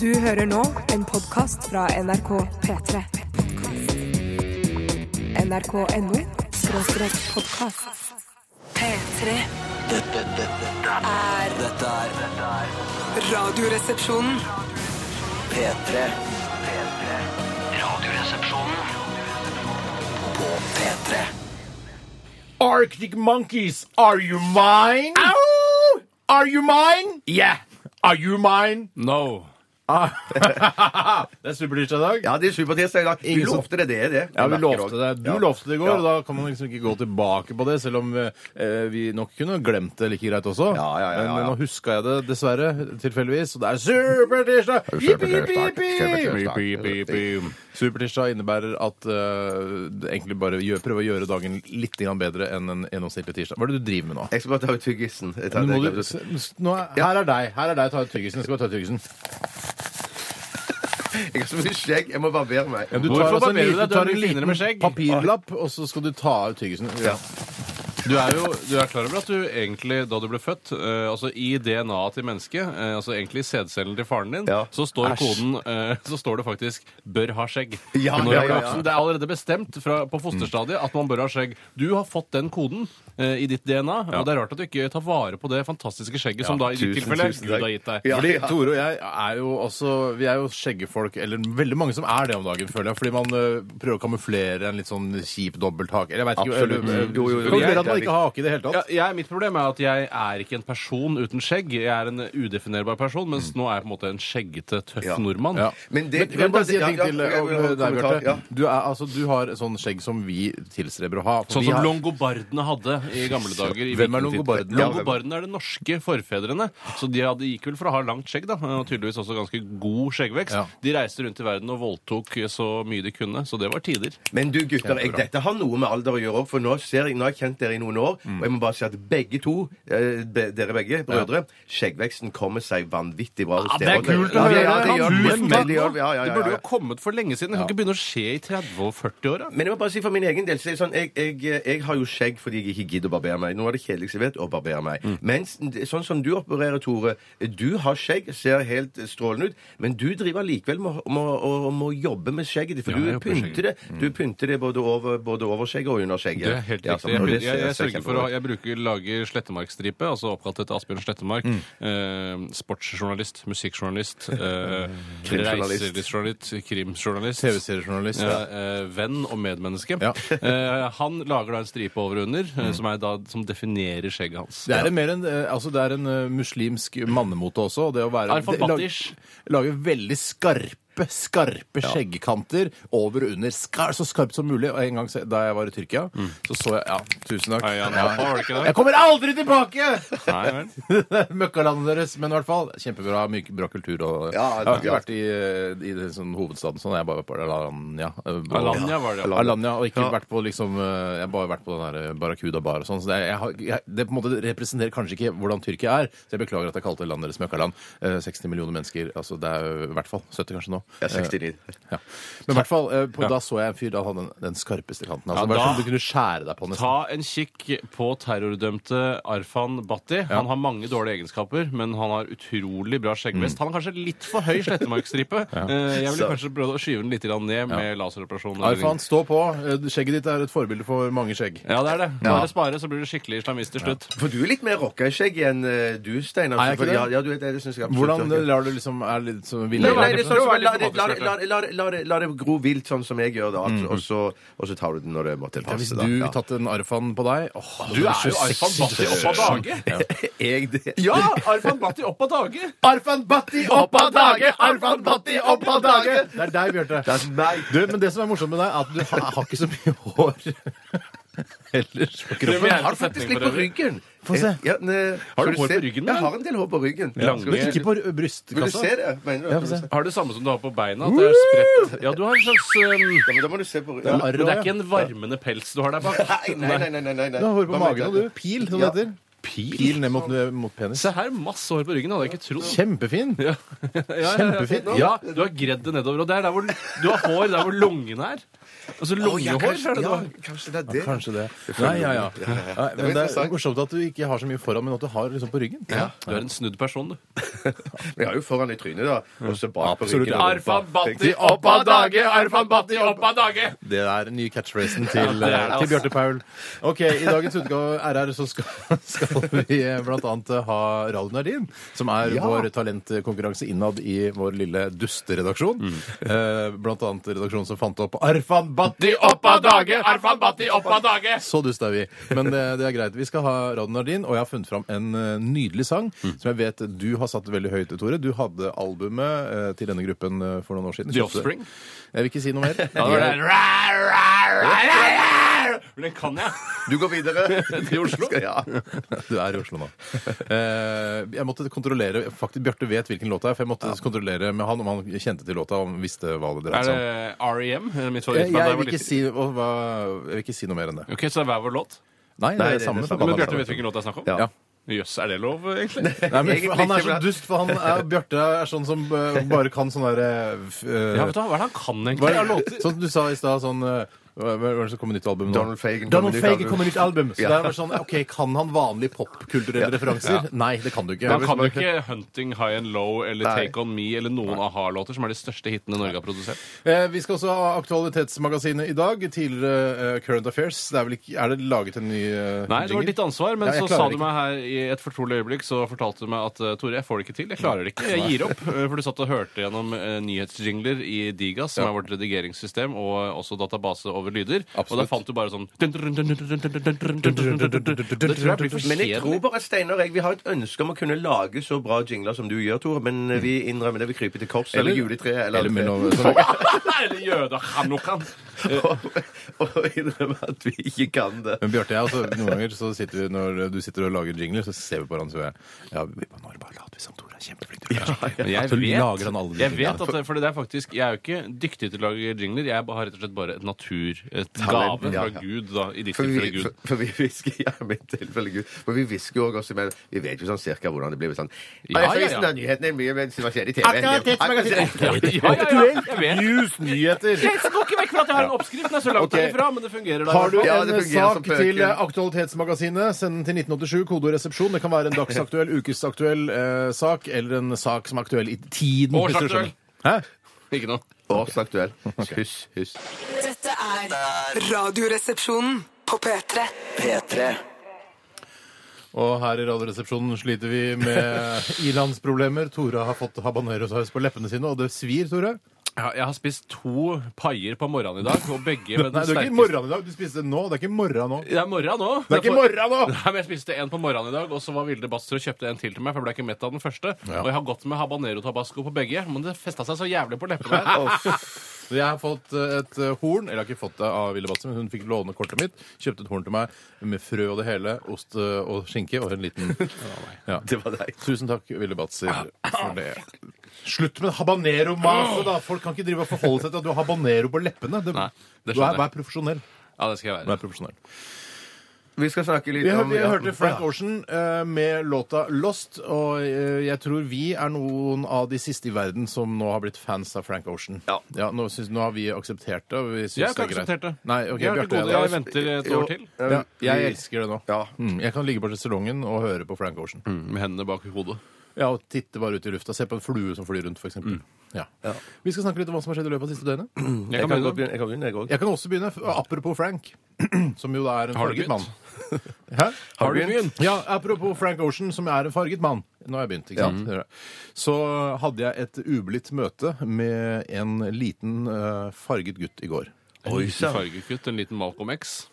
Du hører nå en podkast fra NRK P3. NRK.no skråstrek podkast. P3 Dette, dette, er dette er Radioresepsjonen. P3. P3. Radioresepsjonen på P3. Arctic Monkeys, are you mine? Au! Are you mine? Yeah! Are you mine? Ah. No! Det er supertirsdag i dag. Ja, det er supertirsdag i dag. Vi Ingen som- lovte det, det er det. Ja, vi Jeg merker lovte det. også. Du Ja. lovte det i går, Ja. og da kan man liksom ikke gå tilbake på det, selv om eh, vi nok kunne glemt det like greit også. Ja, ja, ja, ja, Men ja. nå huska jeg det dessverre, tilfeldigvis, og det er supertirsdag! Jippi, jippi, jippi! Supertirsdag. Jippi, jippi, jippi. Supertirsdag innebærer at eh, det egentlig bare gjør, prøve å gjøre dagen litt grann bedre enn en gjennomsnittlig tirsdag. Hva er det du driver med nå? Jeg skal bare ta ut tyggisen. Jeg Nå tar det, må du, jeg glemte å- s- s- nå er, her er deg. Her er deg, ta ut tyggisen. Skal bare ta ut tyggisen. Jeg har så mye skjegg, jeg må barbere meg. Du Hvorfor tar, altså en barberer liten, du tar en du deg? Du er mye finere med liten skjegg. papirlapp, og så skal du ta ut tyggisen. Ja. Du er jo du er klar over at du egentlig, da du ble født, eh, altså i DNA-et til mennesket, eh, altså egentlig i sædcellen til faren din, Ja. så står Æsj. koden eh, Så står det faktisk 'bør ha skjegg'. Ja, ja, Når du er ja, ja. voksen. Det er allerede bestemt fra, på fosterstadiet at man bør ha skjegg. Du har fått den koden eh, i ditt DNA, og det er rart at du ikke tar vare på det fantastiske skjegget som da i ditt tusen, tilfelle tusen Gud takk. har gitt deg. Ja, Fordi ja. Tore og jeg er jo også Vi er jo skjeggefolk, eller veldig mange som er det om dagen, føler jeg. Fordi man ø, prøver å kamuflere en litt sånn kjip dobbelthake. Eller jeg vet ikke Absolutt. eller, ø, Jo, jo, jo. Kamuflere Jeg- at man ikke har hake i det hele Ja, tatt. jeg, mitt problem er at jeg er ikke en person uten skjegg. Jeg er en udefinerbar person, mens nå er jeg på en måte en skjeggete, Mm. tøff Ja. nordmann. Ja. Men det- jeg vil bare si en Ja, ting ja, til jeg vil ha ø, deg, kommentar, Bjarte. ja. Du, er, altså, du har sånn skjegg som vi tilstreber å ha. for Sånn vi som har- longobardene hadde i gamle dager. I Hvem er vikingtid. longobardene? Longobardene er de norske forfedrene. Så de hadde, gikk vel for å ha langt skjegg, da. Og tydeligvis også ganske god skjeggvekst. Ja. De reiste rundt i verden og voldtok så mye de kunne. Så det var tider. Men du gutter, jeg, dette har noe med alder å gjøre òg, for nå, ser jeg, nå har jeg kjent dere i noen år, Mm. og jeg må bare si at begge to, eh, be, dere begge, brødre, skjeggveksten kommer seg vanvittig bra hos Ja, dere. å Ja, høre. Ja, det gjør det. Tusen Men det gjør- ja, ja, Det ja, burde ja. jo kommet for lenge siden. Det kan ikke begynne å skje i 30- og 40-åra. Men jeg må bare si for min egen del så er det sånn, jeg, jeg, jeg har jo skjegg fordi jeg ikke gidder å barbere meg. Noe av det kjedeligste jeg vet, å barbere meg. Mm. Mens det- sånn som du opererer, Tore, du har skjegg, ser helt strålende ut, men du driver likevel med å- med å- om å jobbe med skjegget ditt, for Ja, du jeg jobber med Mm. pynter det. Du pynter det både over, både over skjegget og under skjegget. Det er helt Ja, riktig. sånn, og Jeg, det jeg, ser- jeg, ser sørger for kjempebra å ut. jeg bruker, lager Slettemarkstripe, altså oppkalt etter Asbjørn Slettemark. Mm. Eh, sportsjournalist, musikkjournalist, eh, Krimjournalist. reiselivsjournalist, krimjournalist. TV-seriejournalist. Ja, eh, venn og medmenneske. Ja. Eh, han lager da en stripe over og under, eh, Mm. som, er da, som definerer skjegget hans. Det er, en mer en, eh, altså det er en eh, muslimsk mannemote også. og Det å være, Er det for det- lag- battish? lage veldig skarpe, skarpe skjeggkanter over og under. Skar, så skarpt som mulig. Og en gang se- da jeg var i Tyrkia, så så jeg Ja, tusen takk. Nei, Mm. ja, nå var det ikke det. Jeg kommer aldri tilbake! Nei, vel. Møkkalandet deres. Men i hvert fall kjempebra. Mye bra kultur og Ja, Jeg har ikke ja. vært i, eh, i den sånn, hovedstaden sånn. Jeg har bare vært på Alanya. eh, og- Alanya var det, ja. Alanya, og ikke vært på liksom eh, Jeg har bare vært på den der Barracuda bar og sånn. Så det, er- jeg, har- jeg, det på en måte representerer kanskje ikke hvordan Tyrkia er. Så jeg beklager at jeg kalte landet deres møkkaland. Eh, 60 millioner mennesker. Altså det er jo i hvert fall 70 kanskje nå. Øh, Ja, 69. Ja. Men i hvert fall, eh, på, da så jeg en fyr da hadde den, den skarpeste kanten. Altså, Ja, det var da- som du kunne skjære deg på nesten. Ta en kikk på terrordømte Arfan Bhatti. Han har mange dårlige egenskaper, men han har utrolig bra skjeggvest. Han har kanskje litt for høy slettemarkstripe. Eh, Jeg ville kanskje prøvd å skyve den litt grann ned med laseroperasjon. eller Arfan, stå på. Eh, Skjegget ditt er et forbilde for mange skjegg. Ja, det er det. Bare spare, så blir du skikkelig islamist til slutt. For du er litt mer rocka i skjegg enn eh, du, Steinar. Er jeg for- ikke det? Ja, ja, du vet det, det synes jeg absolutt. Hvordan Jørgen. lar du liksom er litt som Nei, ville? nei, det er sånn som, Prøv å la, være la, la, la, litt la, la, det- la det gro vilt, sånn som jeg gjør, da. at- Og, så, og så tar du den når det måtte Mm. Ja, hvis passe. da. du Ja. tatt en Arfan på deg åh, Du det er jo så Arfan sexy. Bhatti opp av dage! Jeg det. Ja! Arfan Bhatti opp av dage! Arfan Bhatti opp av dage! Arfan Bhatti opp av dage! Det er deg, Bjarte. Det er meg. Du, men det som er morsomt med deg, er at du har, har ikke så mye hår ellers på kroppen. Jeg har faktisk litt på ryggen. Eh, Få se. Ja, ne, Har du skal hår se? på ryggen, Jeg da? har en del hår på ryggen. Lange- Skal du- Ikke på r- Vil du se brystkassa. det? Mener du? Ja, få se. Har du samme som du har på beina? At det er spredt? Ja, du har en slags um, Ja, men da må du se på ryggen. Ja, Men det er ikke en varmende pels du har der bak. Nei, nei, nei. nei, nei, nei. Du har hår på Hva magen, mener og du. Pil, som det Ja. heter. Pil, ned mot, eh, mot penis. Se her, masse hår på ryggen. Hadde jeg ikke trodd. Kjempefin. Ja. Ja, ja, ja. Kjempefint. Ja, du har gredd det nedover. Og det er der hvor du har hår der hvor lungene er. Altså ja, lungehår, kanskje, ser du ja, da. kanskje det er det. Kanskje det. føler Nei, ja, ja. jeg. Ja, ja, ja. Nei, men Det var det er interessant. morsomt at du ikke har så mye foran, men at du har liksom på ryggen. Ja. Du er en snudd person, du. Men jeg har jo foran i trynet, da. Og så bak på Absolutt. ryggen. Arfan Bhatti, opp av dage! Arfan Bhatti, opp av dage! Det er den nye catchphrasen til, det altså. er det, eh, til Bjarte Paul. Ok, I dagens utgave av RR så skal, skal vi eh, bl.a. ha Radio Nardin, som er vår talentkonkurranse innad i vår lille dusteredaksjon. Eh, Blant annet redaksjonen som fant opp Arfan Bhatti opp av dage! Arfan Bhatti opp av dage! Så dust er vi. Men eh, det, det er greit. Vi skal ha Radio Nardin, og jeg har funnet fram en eh, nydelig sang som jeg vet du har satt veldig høyt, Tore. Du hadde albumet eh, til denne gruppen eh, for noen år siden. The Offspring. Jeg vil ikke si noe mer. Ja, det var det. Ra, ra, ra, ra, ra. Men den kan jeg. Du går videre. Til Oslo? Skal- Ja. Du er i Oslo nå. Eh, jeg måtte kontrollere Faktisk, Bjarte vet hvilken låt det er, for jeg måtte kontrollere med han om han kjente til låta og visste hva det dreide Er seg det om. R.E.M.? eh, Mitt Jeg, favorittband da jeg, jeg var vil ikke si, liten. og hva, jeg vil ikke si noe mer enn det. Ok, Så det er hver vår låt? Nei, det Nei, er det det er samme. det samme. Men Bjarte vet hvilken låt det er snakk om? Ja. Jøss, er det lov, egentlig? Nei, men han Egentlig er så ikke, men- dust, for han er, Bjarte er sånn som eh, bare kan sånn derre eh, Ja, vet du, hva, hva er det han kan, hva egentlig? er av det- låter? Sånn som du sa i stad, sånn eh, hva hva er det som kommer nytt album nå? Donald Fagan kommer Donald nytt Fagan album. kommer nytt album. Så Ja. det er bare sånn, ok, Kan han vanlige popkulturelle referanser? Nei, det kan du ikke. Han kan jo ikke 'Hunting High and Low' eller Nei. 'Take On Me' eller noen a-ha-låter, som er de største hitene Norge har produsert. Eh, Vi skal også ha Aktualitetsmagasinet i dag. Tidligere eh, Current Affairs. Det er, vel ikke, er det laget en ny eh, Nei, det var jingle? ditt ansvar, men Ja, jeg så klarer sa du ikke. meg her i et fortrolig øyeblikk, så fortalte du meg at eh, Tore, jeg får det ikke til. Jeg klarer det ikke. Jeg gir opp. eh, For du satt og hørte gjennom eh, nyhetsjingler i Digas, som er vårt redigeringssystem, og også database over lyder. Og Absolutt. da fant du bare sånn Det tror jeg blir for Men jeg tror kjedelig. bare, Steinar og jeg, vi har et ønske om å kunne lage så bra jingler som du gjør, Tore, men eh, vi innrømmer det. Vi kryper til korset eller juletreet eller, Eller eller mellom, sånn, Eller jødehanukkan. og, og innrømmer at vi ikke kan det. men Bjarte, jeg, altså, noen ganger så sitter vi, når du sitter og lager jingler, så ser vi på hverandre og sier ja, vi bare, nå er det bare later vi som Tore er kjempeflink. til å lage jingler». Men jeg Så vet, lager han alle de jeg vet jinglene. at det, for det er faktisk, jeg er jo ikke dyktig til å lage jingler. Jeg har rett og slett bare et natur... Et gave ja, fra ja. Gud, da. sånn I ditt For vi, tilfelle Gud. for, for vi hvisker ja, i mitt tilfelle Gud. For vi hvisker jo også imellom. Vi vet jo sånn cirka hvordan det blir. men Sånn. Ja, Ja, ja, ja, ja. Forresten, ja, nyheten er mye mer som har skjedd i TV. Ja, ja, ja, jeg vet. News, nyheter! Jeg går ikke vekk fra at jeg har en oppskrift. Den er så Ok. langt herifra, men det fungerer. da. Har du Ja, en det fungerer som sak pøken. til eh, Aktualitetsmagasinet, send den til 1987, kodeord resepsjon. Det kan være en dagsaktuell, ukesaktuell eh, sak, eller en sak som er aktuell i tiden. hvis du Årsaktuell. skjønner. Hæ? Ikke noe. Årsaktuell. Huss, huss. Dette er Radioresepsjonen på P3. P3. Og her i Radioresepsjonen sliter vi med ilandsproblemer. Tore har fått habanerosaus på leppene sine, og det svir, Tore. Ja, jeg har spist to paier på morgenen i dag, og begge Nei, med den det er ikke sterkeste morgen i dag. Du spiste det nå. Det er ikke morgen nå. Det er morgen nå. Det er ikke morgen nå! Nei, men Jeg spiste en på morgenen i dag, og så var Vilde Bastro og kjøpte en til til meg. For jeg ble ikke mett av den første. Ja. Og jeg har gått med habanero tabasco på begge, men det festa seg så jævlig på leppene. her. Så Jeg har fått eh, et eh, horn, eller jeg har ikke fått det av Ville Batse, men hun fikk låne kortet mitt. Kjøpte et horn til meg med frø og det hele, ost eh, og skinke og en liten ja. Det var deg. Tusen takk, Ville Batser, for det. Slutt med habanero-maset, da! Folk kan ikke drive og forholde seg til at du har habanero på leppene. Det, Nei, det du skjønner er, jeg. vær profesjonell. Ja, det skal jeg Vær være. profesjonell. Vi skal snakke litt Vi, hør, om vi ja. hørte Frank Ocean eh, med låta 'Lost', og eh, jeg tror vi er noen av de siste i verden som nå har blitt fans av Frank Ocean. Ja. nå, syns- nå har vi akseptert det. og Vi syns Jeg har ikke det er greit. akseptert det. Nei, ok, jeg, har Bjarte, til gode, ja, jeg venter et Jo, år til. eh, ja, jeg vi- elsker det nå. Ja. Mm, jeg kan ligge på salongen og høre på Frank Ocean. Med hendene bak hodet. Ja, Og titte bare ut i lufta. Se på en flue som flyr rundt, f.eks. Ja. Vi skal snakke litt om hva som har skjedd i løpet av de siste døgnet. Jeg Jeg kan kan godt begynne. begynne, jeg kan begynne, jeg òg. Jeg kan også begynne, f- apropos Frank, som jo da er en Har du farget mann. begynt? Hæ? Har du begynt? Ja, apropos Frank Ocean, som er en farget mann. Nå har jeg begynt, ikke Mm. sant? Hører jeg. Så hadde jeg et ublidt møte med en liten eh, farget gutt i går. En liten fargekutt, en liten Malcolm X.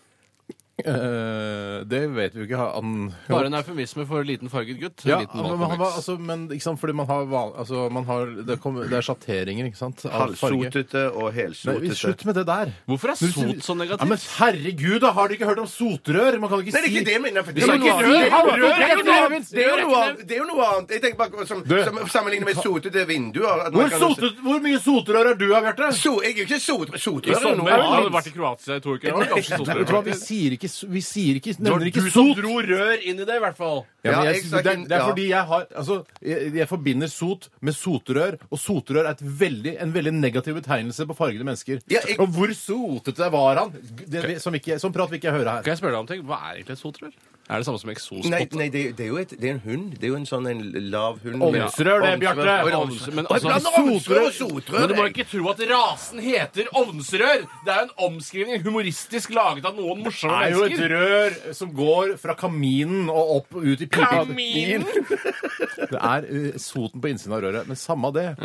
Eh, det vet vi jo ikke. Han, Bare en eufemisme for liten farget gutt. En ja, liten men, han Malcolm var, X. altså, men ikke sant, fordi man har, van, altså, man har det, kommer- det er sjatteringer, ikke sant? av farge. Halvsotete og Nei, vi- helsotete. Slutt med det der. Hvorfor er Når du sot sier- sånn så Ja, men negativt? herregud, da har du ikke hørt om sotrør? Man kan ikke Nei, det er si ikke det jeg mener. For det, Ja, er men jo noe ikke annet. rør, Det er jo rør, noe rør, annet. Det er jo noe annet. Det er jo noe annet. Jeg tenker bare som, Du. som sammenlignet med sotete vinduer. at Hvor, man kan også- sotet, hvor mye sotrør er du av, Bjarte? So, jeg er jo ikke sot, sotrør. er I jo sommer noe han hadde annet. vært i Kroatia i to uker. han var kanskje Vet du hva, sotrør. Vi sier ikke ikke s- Vi sier ikke Det Nevner var du ikke som sot! dro rør inn i det, i hvert fall. Ja, men Ja, jeg, exakt. det, er, det er Ja. fordi jeg har Altså, jeg, jeg forbinder sot med sotrør, og sotrør er et veldig, en veldig negativ betegnelse på fargede mennesker. Ja, jeg- Og hvor sotete var han? Det, vi- som, ikke, som prat vil ikke jeg høre her. Kan jeg spørre deg om ting? Hva er egentlig et sotrør? Er det samme som Nei, eksospotte? nei det, det er jo et, det er en hund. Det er jo en sånn en lav hund. Ovnsrør, det, Bjarte. Ovnsrør. Ovns- men Oi, altså- blander ovnsrør og sotrør. Men du må ikke tro at rasen heter ovnsrør! Det er jo en omskrivning humoristisk laget av noen Det morsomme er jo et mennesker. rør som går fra kaminen og opp og ut i pipa. Kaminen! Det er eh, soten på innsiden av røret. Men samme det.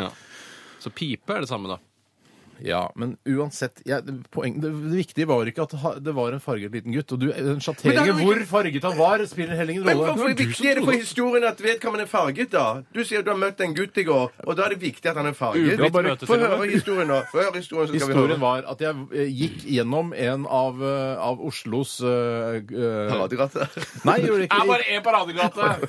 Så pipe er det samme, da. Ja, men uansett jeg, det- poeng, det, det viktige var ikke at ha- det var en farget liten gutt. Og du, eh, den Men det er sjatteringen jo hvor farget han var, spiller heller ingen Men rolle. hvorfor er det viktig er det for historien at vedkommende er farget, da? Du sier du har møtt en gutt i går, og da er det viktig at han er farget. Ublidt møte Få til og høre med. historien nå. Få høre historien, så skal Historien vi høre. var at jeg eh, gikk gjennom en av, eh, av Oslos eh, eh, Paradegrattet. Nei, jeg gjorde Det er ikke bare én paradegate!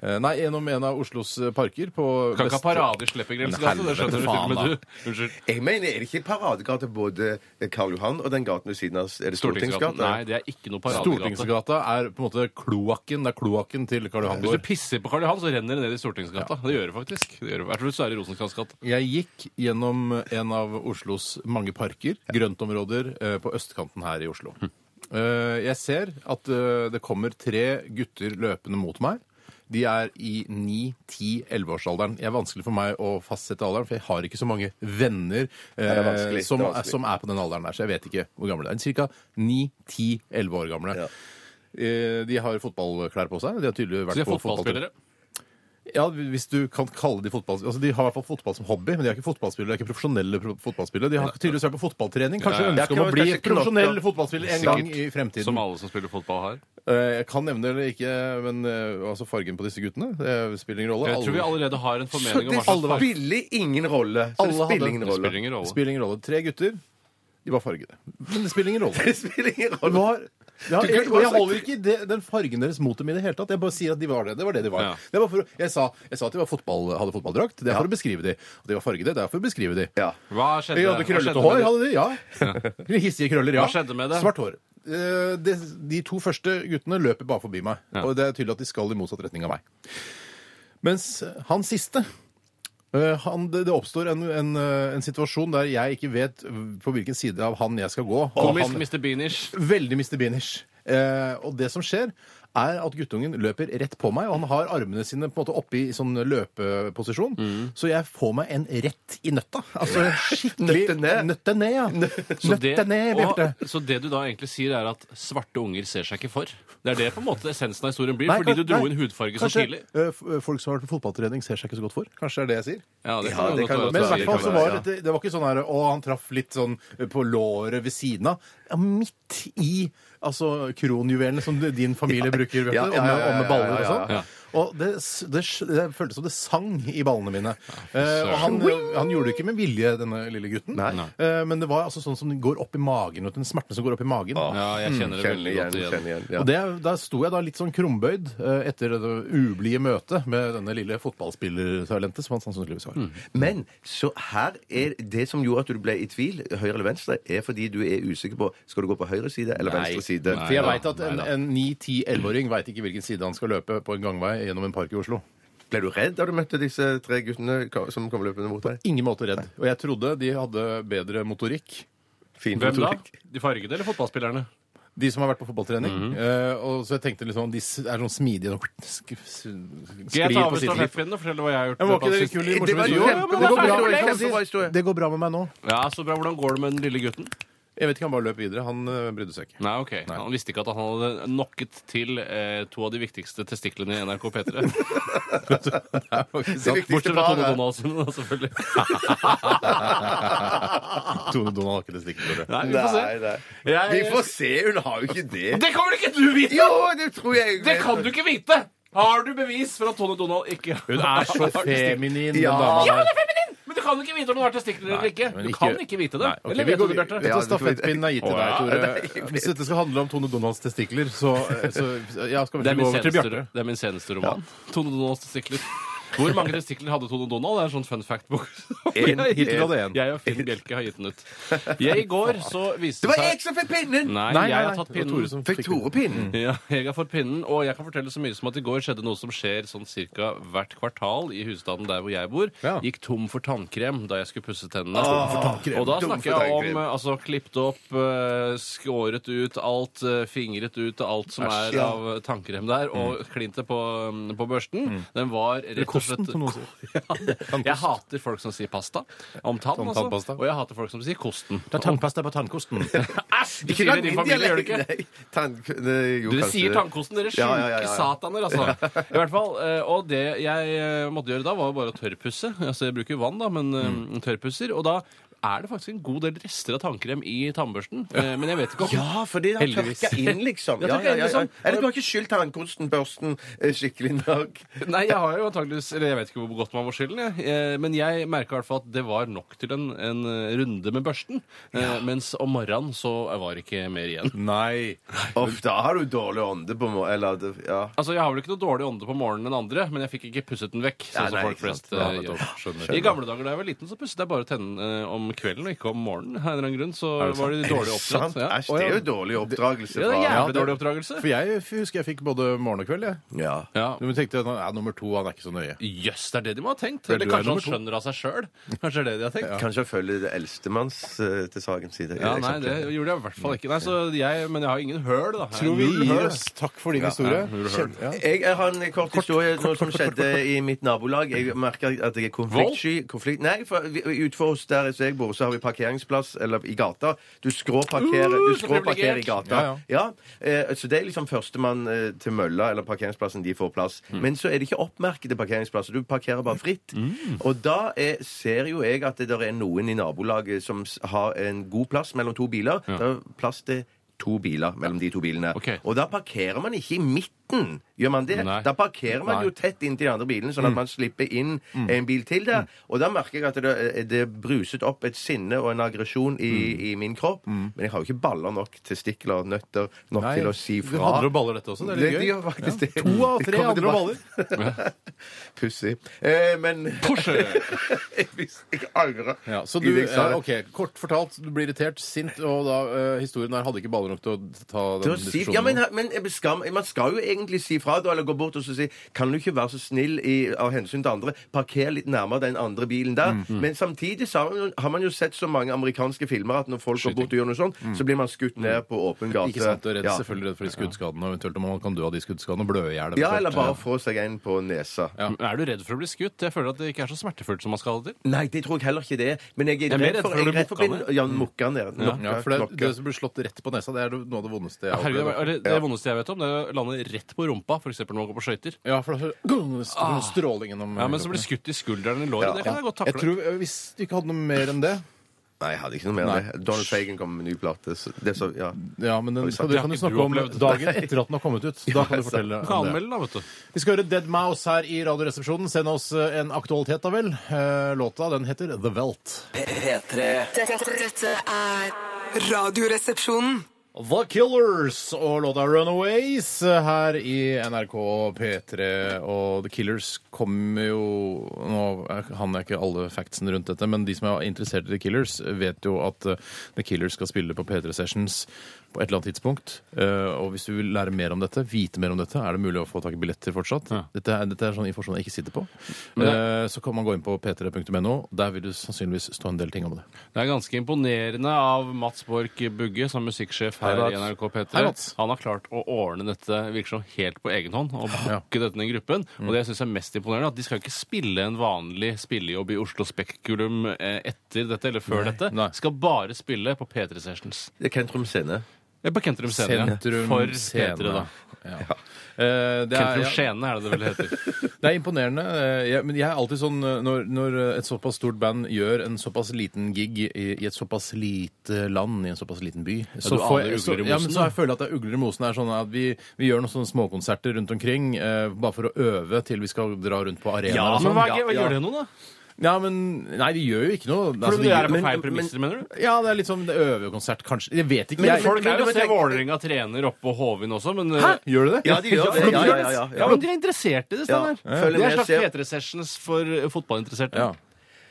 Eh, Nei, gjennom en av Oslos eh, parker på Kan ikke ha vest- paradesleppegrensegate. Det skjønner Helvete, du. faen, Men da. du, unnskyld. Jeg mener, er det ikke paradegate både Karl Johan og den gaten ved siden av? Er det Stortingsgata? Stortingsgata? Nei, det er ikke noe paradegate. Stortingsgata er på en måte kloakken. Det er kloakken til Karl Johan Hvis gård. du pisser på Karl Johan, så renner det ned i Stortingsgata. Det gjør det faktisk. Det gjør det. Jeg tror det er i Rosenkrantz gate. Jeg gikk gjennom en av Oslos mange parker, grøntområder, eh, på østkanten her i Oslo. Eh, Jeg ser at eh, det kommer tre gutter løpende mot meg. De er i 9-10-11-årsalderen. Det er vanskelig for meg å fastsette alderen, for jeg har ikke så mange venner er eh, vanskelig, det er som, vanskelig. som er på den alderen der, så jeg vet ikke hvor gamle de er. Ca. 9-10-11 år gamle. Ja. Eh, De har fotballklær på seg. De har tydeligvis Så de vært er på fotballtur. fotballspillere. Ja, hvis du kan kalle de fotball... Altså, De har i hvert fall fotball som hobby, men de er ikke fotballspillere, de er ikke profesjonelle pro- fotballspillere. De har tydeligvis vært på fotballtrening. Kanskje Nei, ønsker om å kanskje- bli kanskje profesjonell knotter. fotballspiller en gang i fremtiden. Som alle som spiller fotball har. Eh, Jeg kan nevne det eller ikke, men eh, altså fargen på disse guttene det spiller ingen rolle. Jeg tror vi Alle- allerede har en Så formening om det hva slags farge spiller ingen rolle. Så det Alle spiller hadde- ingen det spiller rolle. ingen rolle. spiller ingen rolle. Tre gutter. De var fargede. Men det spiller ingen rolle. Det spiller ingen Det rolle. var... Ja, Du kunne jeg, bare og jeg sagt- holder ikke det, den fargen deres mot dem i det hele tatt. Jeg bare sier at de var det. Det var det de var. Ja. Det var for, å- jeg, sa, jeg sa at de var fotball, hadde fotballdrakt. Det er for å beskrive de. At de var fargede, det er for å beskrive de. Ja. Hva skjedde, Vi hadde hva krøllete skjedde hår, med det? hadde de, ja. Hissige krøller, ja. Hva skjedde med det? Svart hår. Eh, De, de to første guttene løper bare forbi meg, og det er tydelig at de skal i motsatt retning av meg. Mens han siste eh, han, det, det oppstår en, en, eh, en situasjon der jeg ikke vet på hvilken side av han jeg skal gå. og Komisk han, Mr. Beanish. Veldig Mr. Beanish. Eh, og det som skjer, er at guttungen løper rett på meg, og han har armene sine på en måte oppe i sånn løpeposisjon. Mm. Så jeg får meg en rett i nøtta. Altså skikkelig Nøtte ned. Nøtte ned, ja. Så Nøtte det, ned, og, Bjarte. så det du da egentlig sier, er at svarte unger ser seg ikke for? Det er det på en måte essensen av historien blir, Nei, fordi du dro nei. inn hudfarge så Kanskje, tidlig? eh, f- folk som har vært på fotballtrening, ser seg ikke så godt for. Kanskje det er det jeg sier. Ja, det Ja, kan det kan godt godt Men i være. være. hvert fall det så kan var være, det, det var ikke sånn her Å, han traff litt sånn på låret ved siden av. Ja, midt i altså, kronjuvelene som du- din familie bruker, vet Ja, du. ja, Og med, ja, ja, og med baller og ja, ja, sånn. ja. Og det, s- det, s- det føltes som det sang i ballene mine. Eh, og han, han gjorde det ikke med vilje, denne lille gutten. Eh, men det var altså sånn som den går opp i magen, vet du, den smerten som går opp i magen. Ja, jeg kjenner det veldig Kjenner igjen. godt igjen. Kjenner igjen. Ja. Og det, Da sto jeg da litt sånn krumbøyd eh, etter det ublide møtet med denne lille fotballspillertalentet som han sannsynligvis har. Mm. Men så her er det som gjorde at du ble i tvil, høyre eller venstre, er fordi du er usikker på skal du gå på høyre side eller venstre side. For jeg da, veit at en, nei da. en 9-10-11-åring veit ikke hvilken side han skal løpe på en gangvei gjennom en park i Oslo. Ble du redd da du møtte disse tre guttene ka- som kom løpende mot deg? Ingen måte redd. Og jeg trodde de hadde bedre motorikk. Fin Hvem da? motorikk. De fargede eller fotballspillerne? De som har vært på fotballtrening. Eh, og så jeg tenkte liksom, de s- er sånn smidige og sk sk- Skal jeg sklir ta på over sitt liv. stafettpinnen og fortelle hva jeg har gjort? Men var ikke i det litt løpet av kul siste- i Det var morsom historie? Det jo kjempebra går bra historie, med- kjempebra historie. Det går bra med meg nå. Ja, så bra. Hvordan går det med den lille gutten? Jeg vet ikke, han bare løp videre. Han eh, brydde seg ikke. Nei, ok. Han visste ikke at han hadde knocket til eh, to av de viktigste testiklene i NRK P3. Det viktigste Bortsett fra Tone paret. Donaldsen, da, selvfølgelig. Tone Donald har ikke det stikkordet. Nei, vi får se. Nei, nei. Jeg- Vi får se, hun har jo ikke det. Det kommer ikke du vite! Jo, det tror jeg jeg Det vet. kan du ikke vite! Har du bevis for at Tone Donald ikke Hun er så feminin, den Ja. dama Ja, der. hun er feminin! Men du kan ikke vite om hun har testikler eller ikke. men Du ikke- kan ikke vite det. Nei, ok, vi Eller vet du går- det, Bjarte? Dette stafettpinnen er gitt til Å, deg, ja. Tore. Hvis dette skal handle om Tone Donalds testikler, så, så ja, skal vi Det er ikke gå min over til seneste, Bjarte. det er min seneste roman. Tone Donalds testikler. Hvor mange testikler hadde Tone Donald? Det er en sånn fun fact-bok. En, hittil hadde jeg en. Jeg og Finn Bjelke har gitt den ut. Jeg, I går så viste Det var jeg som fikk pinnen! Nei, Nei, nei, jeg nei, har tatt det var Tore pinnen. som Mm. Fikk Tore pinnen? Ja, jeg har fått pinnen, og jeg kan fortelle så mye som at i går skjedde noe som skjer sånn cirka hvert kvartal i husstanden der hvor jeg bor. Ja. Gikk tom for tannkrem da jeg skulle pusse tennene. tannkrem, og da tom snakker for jeg om tannkrem. eh, altså klippet opp, eh, skåret ut alt, eh, fingret ut alt som Æsj, er ja. av eh, tannkrem der, og klinte på, mm, på børsten. Den var rett og kosten, slett som noen sier. Ja, jeg hater folk som sier pasta om tann, Om altså. tannpasta. Og jeg hater folk som sier kosten. Det er tannpasta på tannkosten. Æsj! Du sier det i din familie, gjør du ikke? Nei, tann... nei, jo, Dere kanskje sier det. tannkosten, dere sjuke Ja, ja, ja, ja. sataner, altså. I hvert fall, eh, Og det jeg eh, måtte gjøre da, var jo bare å tørrpusse. Altså, jeg bruker jo vann, da, men eh, Mm. tørrpusser. Og da er det faktisk en god del rester av tannkrem i tannbørsten. Eh, Men jeg vet ikke om Ja, for det har Heldigvis. tørka inn, liksom. Ja, Ja, tørka ja, inn, ja, ja. liksom. Eller du har ikke skylt tannkosten, børsten, eh, skikkelig nok. Nei, jeg har jo antageligvis Eller jeg vet ikke hvor godt man må skylde den, jeg. Eh, Men jeg merka i hvert fall at det var nok til en, en eh, runde med børsten. Eh, Mens om morgenen så var det ikke mer igjen. Nei. Uff, da har du dårlig ånde på må... Eller, det- ja. Altså, Jeg har vel ikke noe dårlig ånde på morgenen enn andre, men jeg fikk ikke pusset den vekk. sånn Ja, nei, som folk ikke sant. flest eh, Ja, gjør. skjønner. I gamle dager da jeg var liten, så pusset jeg bare tennene eh, om kvelden og ikke om morgenen. Av en eller annen grunn, så var de dårlig Sant? oppdratt. Ja. Æsj, det er jo dårlig oppdragelse. ja, det er fra- jævlig dårlig oppdragelse. For jeg f- husker jeg fikk både morgen og kveld, jeg. Ja. Ja. Men tenkte jeg, ja, nummer to, han er ikke så nøye. Jøss, det er det de må ha tenkt. Vel, du er Eller kanskje han nummer skjønner av seg sjøl. Kanskje det er det de har tenkt. Kanskje jeg følger det eldstemanns eh, til sagens side. Ja, nei, det gjorde jeg i hvert fall ikke. Nei, så jeg, Men jeg har ingen høl, da. Tror vi gir oss. Takk for din historie. Kjenn- ja. Jeg jeg har en kort historie noe som skjedde i mitt nabolag. Jeg merker at jeg er konfliktsky. Konflikt, nei, for vi- utenfor oss der som jeg bor, så har vi parkeringsplass eller i gata. Du skråparkerer Uh, du så skråparkerer i privilegiert. gata. Ja, Ja, eh, Så det er liksom førstemann eh, til mølla eller parkeringsplassen de får plass. Mm. Men så er det ikke oppmerkede parkeringsplasser. Du parkerer bare fritt. Og da er, ser jo jeg at det der er noen i nabolaget som s- har en god plass mellom to biler. Det er plass til to biler mellom de to bilene. Ok. Og da parkerer man ikke i midten. Gjør man det? Nei. Da parkerer man Nei. jo tett inntil de andre bilene, Mm. sånn at man slipper inn en bil til der. Og da merker jeg at det, det bruset opp et sinne og en aggresjon i, Mm. i min kropp. Men jeg har jo ikke baller nok, testikler, nøtter nok Nei, til å si Det fra. handler om baller, dette også. Det er litt Det- det gøy. gjør faktisk det. To av Det tre kommer handler om tilbake. baller. Pussig. Eh, men Hvis jeg angrer Ja, så i du, eh, det jeg sa. ja, ok, Kort fortalt, du blir irritert, sint, og da eh, historien her hadde ikke baller nok til å ta Det den å si, ja, men, nå. men skam, man skal jo egentlig si fra da, eller gå bort og så si Kan du ikke være så snill i, av hensyn til andre, parker litt nærmere den andre bilen der? Men samtidig så har, man, jo- har man jo sett så mange amerikanske filmer at når folk går bort og gjør noe sånt, så blir man skutt ned på åpen gate. Ikke sant, og redd, ja. Selvfølgelig redd for de skuddskadene, og eventuelt om man kan dø av de skuddskadene og blø i hjel. ja, eller eventuelt. bare få seg en på nesa. Ja. Er du redd for å bli skutt? Jeg føler at det ikke er så smertefullt som man skal ha det til. Nei, det tror jeg heller ikke det er. Men jeg er, er mer redd redd for, jeg for å er bli redd for å bli mokka ja, mokka ned. Nokka, Ja, for det, knokka. det som blir slått rett på nesa, det er noe av det vondeste jeg har Herregud, opplevd. det, det vondeste jeg vet om, det er å lande rett på rumpa, f.eks. når man går på skøyter. Ja, for det er så- strål- stråling gjennom Ja, men så blir skutt i skulderen eller i låret. Ja. Det kan jeg godt Jeg takle. tror, eh, Hvis du ikke hadde noe mer enn det Nei, jeg hadde ikke noe mer enn det. Donald Fagan kom med ny plate. Så, det så, ja. Ja, men den, kan sant. du, kan du Det har ikke snakke om du opplevd. dagen etter at den har kommet ut. Da kan du sant. fortelle Du kan om det. anmelde, da, vet du. Vi skal høre Dead Mouse her i Radioresepsjonen. Send oss eh, en aktualitet, da vel. Eh, Låta den heter The Welt. P3. Dette, dette er Radioresepsjonen. The Killers og låta Runaways eh, her i NRK P3. Og The Killers kommer jo Nå han er ikke alle factsene rundt dette, men de som er interessert i The Killers, vet jo at eh, The Killers skal spille på P3 Sessions på et eller annet tidspunkt. Eh, Og hvis du vil lære mer om dette, vite mer om dette, er det mulig å få tak i billetter fortsatt. Ja. Dette, er, dette er sånn informasjon jeg ikke sitter på. Eh, Så kan man gå inn på p3.no. Der vil det sannsynligvis stå en del ting om det. Det er ganske imponerende av Mats Borch Bugge, som musikksjef her Hei, Mats. i NRK Hei, P3. Mats. Han har klart å ordne dette virker som helt på egen hånd, og booke dette ned i gruppen. Mm. Og det jeg syns er mest imponerende, at de skal ikke spille en vanlig spillejobb i Oslo Spekulum eh, etter dette eller før dette. Nei. Skal bare spille på P3 Sessions. Det er Kentrum Scene. Eh, På Kentrum Scene. ja. Sentrum For Scene. P3, da. Ja. Eh, det er, Kentrum ja, Skjene er det det vel heter. det er imponerende. eh, jeg, men jeg er alltid sånn eh, når, når et såpass stort band gjør en såpass liten gig i, i et såpass lite land, i en såpass liten by så, du får aner jeg, så, ugler i ja, mosen, men da. så jeg føler at det er ugler i mosen. er sånn at Vi, vi gjør noen sånne småkonserter rundt omkring eh, bare for å øve til vi skal dra rundt på arenaer. og men sånn. hva, er- hva gjør det nå, da? Ja, men Nei, de gjør jo ikke noe. Altså, Fordi de det gjør- er på men- feil men- premisser, mener du? ja, det er litt sånn øvekonsert, kanskje. Jeg vet ikke. Men jeg, folk er jo men- se Vålerenga trener oppe på Hovin også, men eh, Hæ? Gjør du det? Ja, de gjør det. for Ja, ja, ja, gjør ja. det. Ja, men de er interessert i det, Steinar. Ja, følger Det er med, slags ser- P3-sessions for eh, fotballinteresserte. Ja.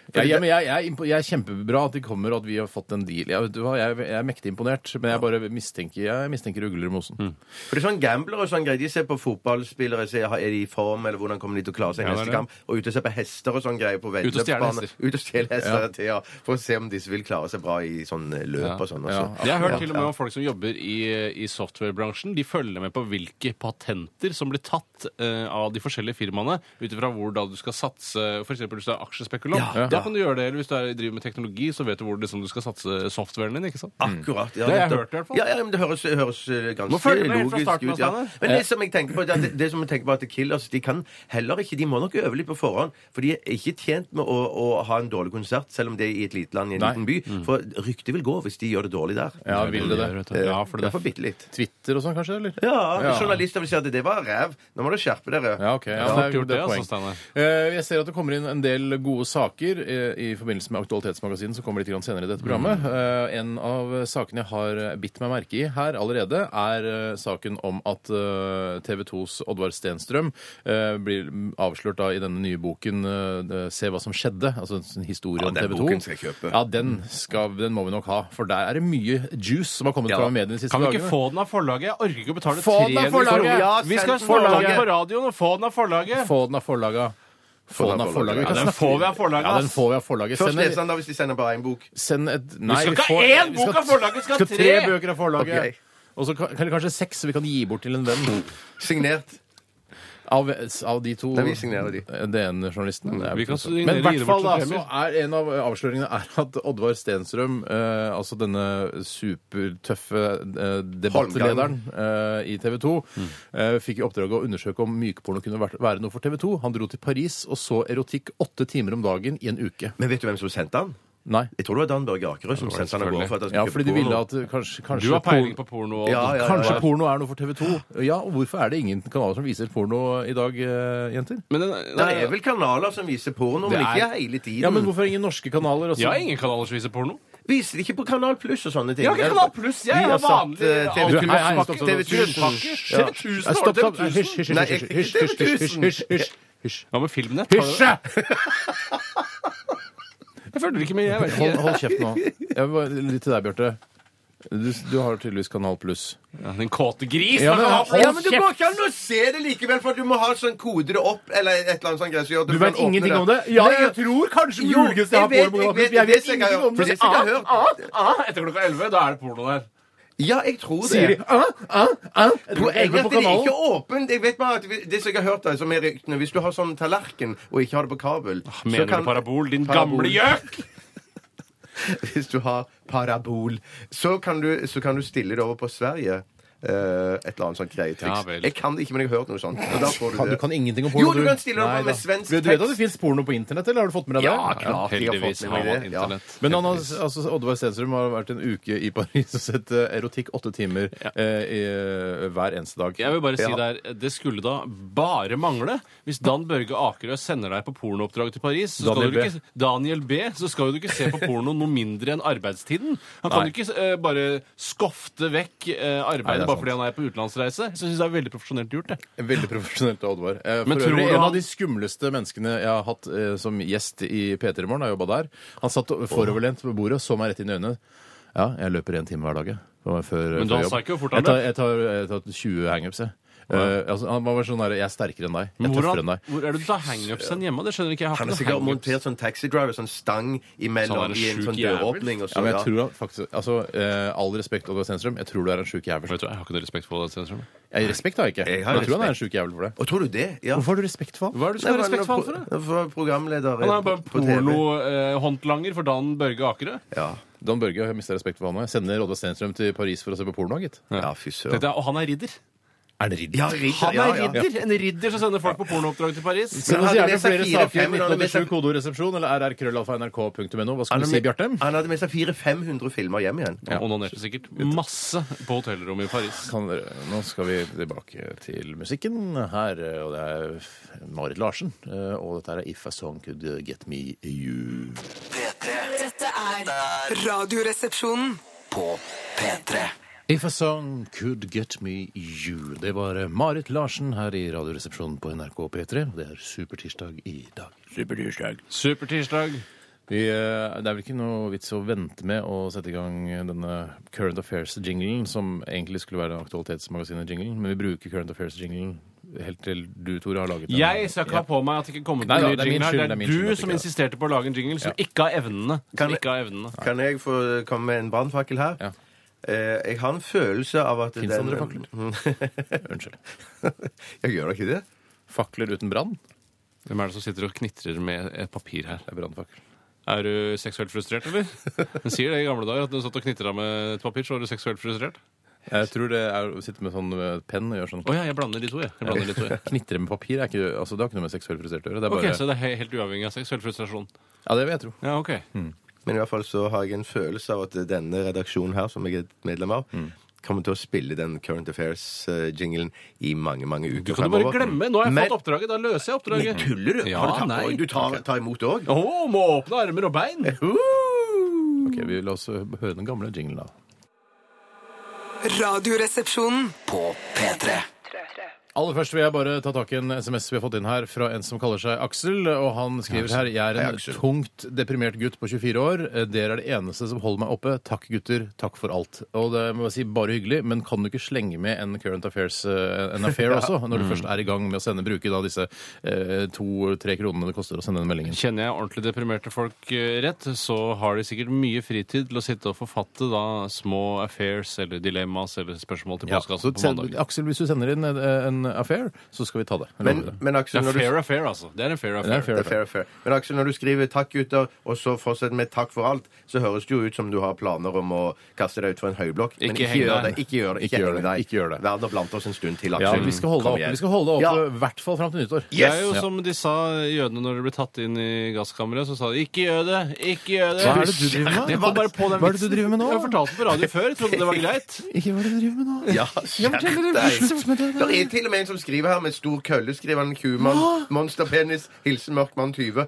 Ja, ja, men jeg, jeg, er impo- jeg er kjempebra at de kommer og at vi har fått en deal. Jeg, vet du hva, jeg, jeg er mektig imponert, men jeg bare mistenker, jeg mistenker ugler i mosen. For det er sånn gamblere og sånn greier. De ser på fotballspillere, ser har- er de i form, eller hvordan kommer de til å klare seg i Ja, det er neste det. kamp. Og ute og ser på hester og sånn greier på og stjele veddeløpsbanen. hester. Ut og stjele hester. til, Ja. For å se om disse vil klare seg bra i sånn eh, løp og sånn. Ja. Også. Jeg har hørt til og med om folk som jobber i, eh, i softwarebransjen. De følger med på hvilke patenter som blir tatt eh, av de forskjellige firmaene, ut ifra hvor da du skal satse. F.eks. hvis du er aksjespekulant. Ja, Da kan du gjøre det. Eller hvis du er, driver med teknologi, så vet du hvor liksom, du skal satse softwaren din. ikke sant? Akkurat. Ja, Det har jeg nettopp. hørt i hvert fall. Ja, ja, men det høres, høres eh, ganske Må følge med helt fra logisk starten av, ut. Ja. Steinar. Men det som jeg tenker på, det, er at- det som jeg tenker på er at Killers de kan heller ikke De må nok øve litt på forhånd, for de er ikke tjent med å, å ha en dårlig konsert, selv om det er i et lite land i en Nei. liten by. Mm. For ryktet vil gå hvis de gjør det dårlig der. Ja, vil det det? Eh, Ja, for det ja, for bitte litt. Twitter og sånn, kanskje? eller? Ja, journalister vil si at det var ræv. Nå må dere skjerpe dere. Ja, ok. Ja, Ja, det er, fort gjort det er det, poeng. altså, Steinar. Eh, jeg ser at det kommer inn en del gode saker eh, i forbindelse med Aktualitetsmagasinet, som kommer litt grann senere i dette programmet. Eh, en av sakene jeg har eh, bitt meg merke i her allerede, er eh, saken om at eh, TV 2s Oddvar Stenstrøm eh, blir avslørt da, i denne nye boken eh, det- Se hva som skjedde, altså en sånn historie Ja, om den TV 2. boken skal jeg kjøpe. Ja, den, skal, den må vi nok ha, for der er det mye juice som har kommet Ja. fra mediene de siste Kan vi ikke dagene. få den av forlaget? Jeg orker ikke å betale Få den av 300 forlaget! kroner. Ja, Vi skal send snakke om forlaget. den på radioen og få den av forlaget! Få den av forlaga. Få den av forlaget. Vi Ja, kan den snakke- får vi av forlaget. Ja, den ass. får vi av forlaget. Først Send, en- leser han da hvis de sender bare én bok. send et Nei, skal ikke ha får- én vi bok av forlaget, vi skal ha tre tre! bøker av forlaget. Ok. Og så kan, eller kanskje seks vi kan gi bort til en venn Signert. av, av de to Nei, vi signerer de. DN-journalistene. Det er Vi kan jo signere Men i hvert Gilbert fall da, som så er en av avsløringene er at Oddvar Stenstrøm, eh, altså denne supertøffe eh, debattlederen eh, i TV 2, Mm. eh, fikk i oppdrag å undersøke om mykporno kunne vært, være noe for TV 2. Han dro til Paris og så erotikk åtte timer om dagen i en uke. Men vet du hvem som sendte han? Nei. Jeg tror det var Dan Børge Akerø som sendte han av gårde. for at han skulle Ja, kjøpe fordi de ville porno. at eh, kanskje, kanskje Du har peiling porno- på porno. Ja, Ah, ja, ja, ja. Kanskje porno er noe for TV 2? Ja, og hvorfor er det ingen kanaler som viser porno i dag, eh, jenter? Men den, Det er vel kanaler som viser porno, men Det er- ikke hele tiden. Ja, men hvorfor er ingen norske kanaler Altså- også? jeg har ingen kanaler som viser porno. Viser de ikke på Kanal Pluss og sånne ting? Jeg har ikke Kanal Pluss, jeg Vi har har satt, vanlig eh, TV Du, hei, hei, Tusenpakke, stopp, stopp, TV stopp. Tusenpakke. Tusenpakke. Ja. TV Tusen, Nei, Stopp, stopp! TV Hysj, hysj, hysj, Nei, hysj, ikke hysj, hysj, TV hysj, hysj, hysj, hysj, Hva med Filmnett? Har du- hysj! Jeg følger ikke med. jeg vet Hold, ikke. hold kjeft nå. Jeg var litt til deg, Bjarte. Du, du har tydeligvis Kanal Pluss. Ja, Den kåte gris! Ja, hva men kan han hold ha- Ja, men det går ikke an å se det likevel, for du må ha sånn kode det opp, eller et eller annet sånt greier som gjør at Du kan vet åpne ingenting om det? Ja, jeg tror kanskje Jo, jeg muligens jeg har vet- porno på Kanal jeg vet- Pluss. Jeg jeg vet vet- jeg har- ingenting om det. Fordi- sikkert hørt. Ah, ah, ah, etter klokka 11, da er det porno der. Ja, jeg tror det. Sier de ah, ah, ah, jeg tror elleve Jeg vet på det er kanalen. ikke åpent. Jeg vet bare at vi- det som jeg har hørt, er, som er ryktene Hvis du har sånn tallerken og ikke har det på kabel så Ah, Mener kan- du parabol, din Parabol. gamle gjøk? Hvis du har parabol, så kan du, så kan du stille det over på Sverige. Eh, et eller annet sånt Ja, greietriks. vel. jeg kan det ikke, men jeg har hørt noe sånt. Og da får du Kan- Du det. kan ingenting om Jo, porno, du kan stille deg Nei opp med da. svensk Du- Du vet at det tekst. fins porno på internett, eller har du fått med deg det? Ja, klart. jeg har Heldigvis fått har med man meg det. Ja. internett. Men han har, altså, Oddvar Stenstrøm har vært en uke i Paris og sett eh, erotikk åtte timer eh, i, eh, hver eneste dag. Jeg vil bare si Ja. der, Det skulle da bare mangle. Hvis Dan Børge Akerø sender deg på pornooppdrag til Paris, så skal Daniel du ikke, Daniel B., så skal jo du ikke se på porno noe mindre enn arbeidstiden. Han kan Nei. jo ikke eh, bare skofte vekk Nei, eh, det er arbeidet bare sant. fordi han er på utenlandsreise. Så synes jeg det er veldig profesjonelt gjort. det. Veldig profesjonelt av Oddvar. Eh, Men for tror øvrig, du en han- av de skumleste menneskene jeg har hatt eh, som gjest i P3 Morgen, har jobba der. Han satt foroverlent ved bordet og så meg rett inn i øynene. Ja, jeg løper én time hver dag, jeg. Det var Før, før Men da jobb. sa ikke hvor fort han jeg tar, jeg, tar, jeg tar 20 hangups, jeg. Eh, altså, han var sånn der, Jeg er sterkere enn deg. Jeg er Hvor, tøffere enn han, deg. hvor er det du tar hangups hen hjemme? Det skjønner ikke jeg. jeg. har Han har ikke noe sikkert hangups. montert sånn taxidriver, sånn stang imellom Sånn er det i en sjuk sånn jævel. døråpning. Og så, Ja, men jeg ja. tror han faktisk Altså, eh, all respekt, Oddvar Stenstrøm, jeg tror du er en sjuk jævel. Vet du, hva, jeg har ikke noe respekt for det. Stenstrøm. Jeg respekt har jeg ikke. Jeg Jeg, har jeg tror han er en respekt. sjuk jævel for det. Og tror du det? Ja. Hvorfor har du respekt for Hva er det du skal ha respekt for han for? da? for? For programleder Han er bare på TV. pornohåndlanger for Dan Børge Akerø. Ja. Dan Børge har mista respekt for han òg. Sender Oddvar Stenstrøm til Paris for å se på porno, gitt. ja, fy søren. Tenkte jeg, Og han er ridder. Er det ridder? Ja, ridder. Han ja, er ja. ridder! En ridder som sender folk på pornooppdrag til Paris. Send oss Men han gjerne leser flere fire, saker. fem, han leser- 1987 kodoresepsjon eller rrkrøllalfa.nrk.no. Hva skal Han du hadde si, med- Bjarte? Han hadde med seg 400-500 filmer hjem igjen. Han Onanerte sikkert masse på hotellrommet i Paris. Kan dere, nå skal vi tilbake til musikken her, og det er Marit Larsen. eh, Og dette er If a Song Could Get Me You. P3 Dette er Radioresepsjonen. på P3. If a song could get me you. Det var Marit Larsen her i Radioresepsjonen på NRK P3. og Det er supertirsdag i dag. Supertirsdag. Supertirsdag. Vi, eh, det er vel ikke noe vits å vente med å sette i gang denne Current Affairs-jinglen, som egentlig skulle være Aktualitetsmagasinet-jinglen, men vi bruker Current Affairs-jinglen helt til du, Tore, har laget den. Jeg skal ikke ha på meg at det ikke kommer på Nei en da, ny det er min jingle. her. skyld, Det det er min er skyld at du det som ikke er. insisterte på å lage en jingle som ikke har evnene. Kan Som vi- ikke har evnene. Kan jeg få komme med en brannfakkel her? Ja. Eh, jeg har en følelse av at Finnes det andre Unnskyld. Jeg gjør da ikke det? Fakler uten brann? Hvem er det som sitter og knitrer med et papir her? Det er brannfakkel. Er du seksuelt frustrert, eller? Den sier det i gamle dager, at når du satt og knitra med et papir, så var du seksuelt frustrert. Jeg tror det er å sitte med sånn eh, penn og gjøre sånn Å ja, jeg blander de to, jeg. jeg, blander de to, jeg. Knitre med papir er ikke, altså, det har ikke noe med seksuell frustrert å gjøre. Det er Ok, bare, Så det er he- helt uavhengig av seksuell frustrasjon? Ja, det vil jeg tro. Ja, ok. Men i hvert fall så har jeg en følelse av at denne redaksjonen her, som jeg er medlem av, Mm. kommer til å spille den Current Affairs-jinglen i mange, mange uker Du kan jo bare glemme. Nå har jeg Men- fått oppdraget. Da løser jeg oppdraget. Men tuller du? Ja, har du tatt nei. Oi, Du tar, tar imot det òg? Å, må åpne armer og bein! Ok, vi La oss eh, høre den gamle jinglen, da. Radioresepsjonen. På P3. Aller først vil jeg bare ta tak i en SMS vi har fått inn her fra en som kaller seg Aksel. og Han skriver her Jeg er Hei, en Aksel. tungt deprimert gutt på 24 år. Eh, Dere er det eneste som holder meg oppe. Takk, gutter. Takk for alt. Og det må jeg si bare hyggelig, men kan du ikke slenge med en current affairs eh, en affair også? Når du først er i gang med å sende bruke da disse eh, to-tre kronene det koster å sende den meldingen. Kjenner jeg ordentlig deprimerte folk eh, rett, så har de sikkert mye fritid til å sitte og forfatte da små affairs eller dilemmas eller spørsmål til Ja, så postkassen på send, mandag. Aksel, hvis du sender inn en, en affair, så skal vi ta det. Jeg Men, lover det. men Aksel, Det er når du fair affair, altså. Det er en fair Det er affair. fair, Det er fair, fair. Men Aksel, når du skriver 'takk, gutter', og så fortsetter med 'takk for alt', så høres det jo ut som du har planer om å kaste deg utfor en høyblokk. Men Ikke ikke heng gjør deg. det. Ikke gjør det. Ikke gjør heng det. Ikke gjør det. Verden er blant oss en stund til, Ja, Aksel. vi skal holde deg Kom oppe, igjen. vi skal holde deg oppe Ja. i hvert fall fram til nyttår. Det er jo Ja. som de sa jødene når de ble tatt inn i gasskammeret. Så sa de 'ikke gjør det', 'ikke gjør det'. Hva er det du driver med? Jeg kom bare på den Hva er det du vitsen. driver med nå? Jeg fortalte på radio før. Jeg trodde det var greit. Ikke hva er det du driver med nå? Ja, skjerp deg. Det er til og med en som skriver her med stor kølle, skriver han kumann. Monsterpenis. Hilsen mørk mann 20. Hva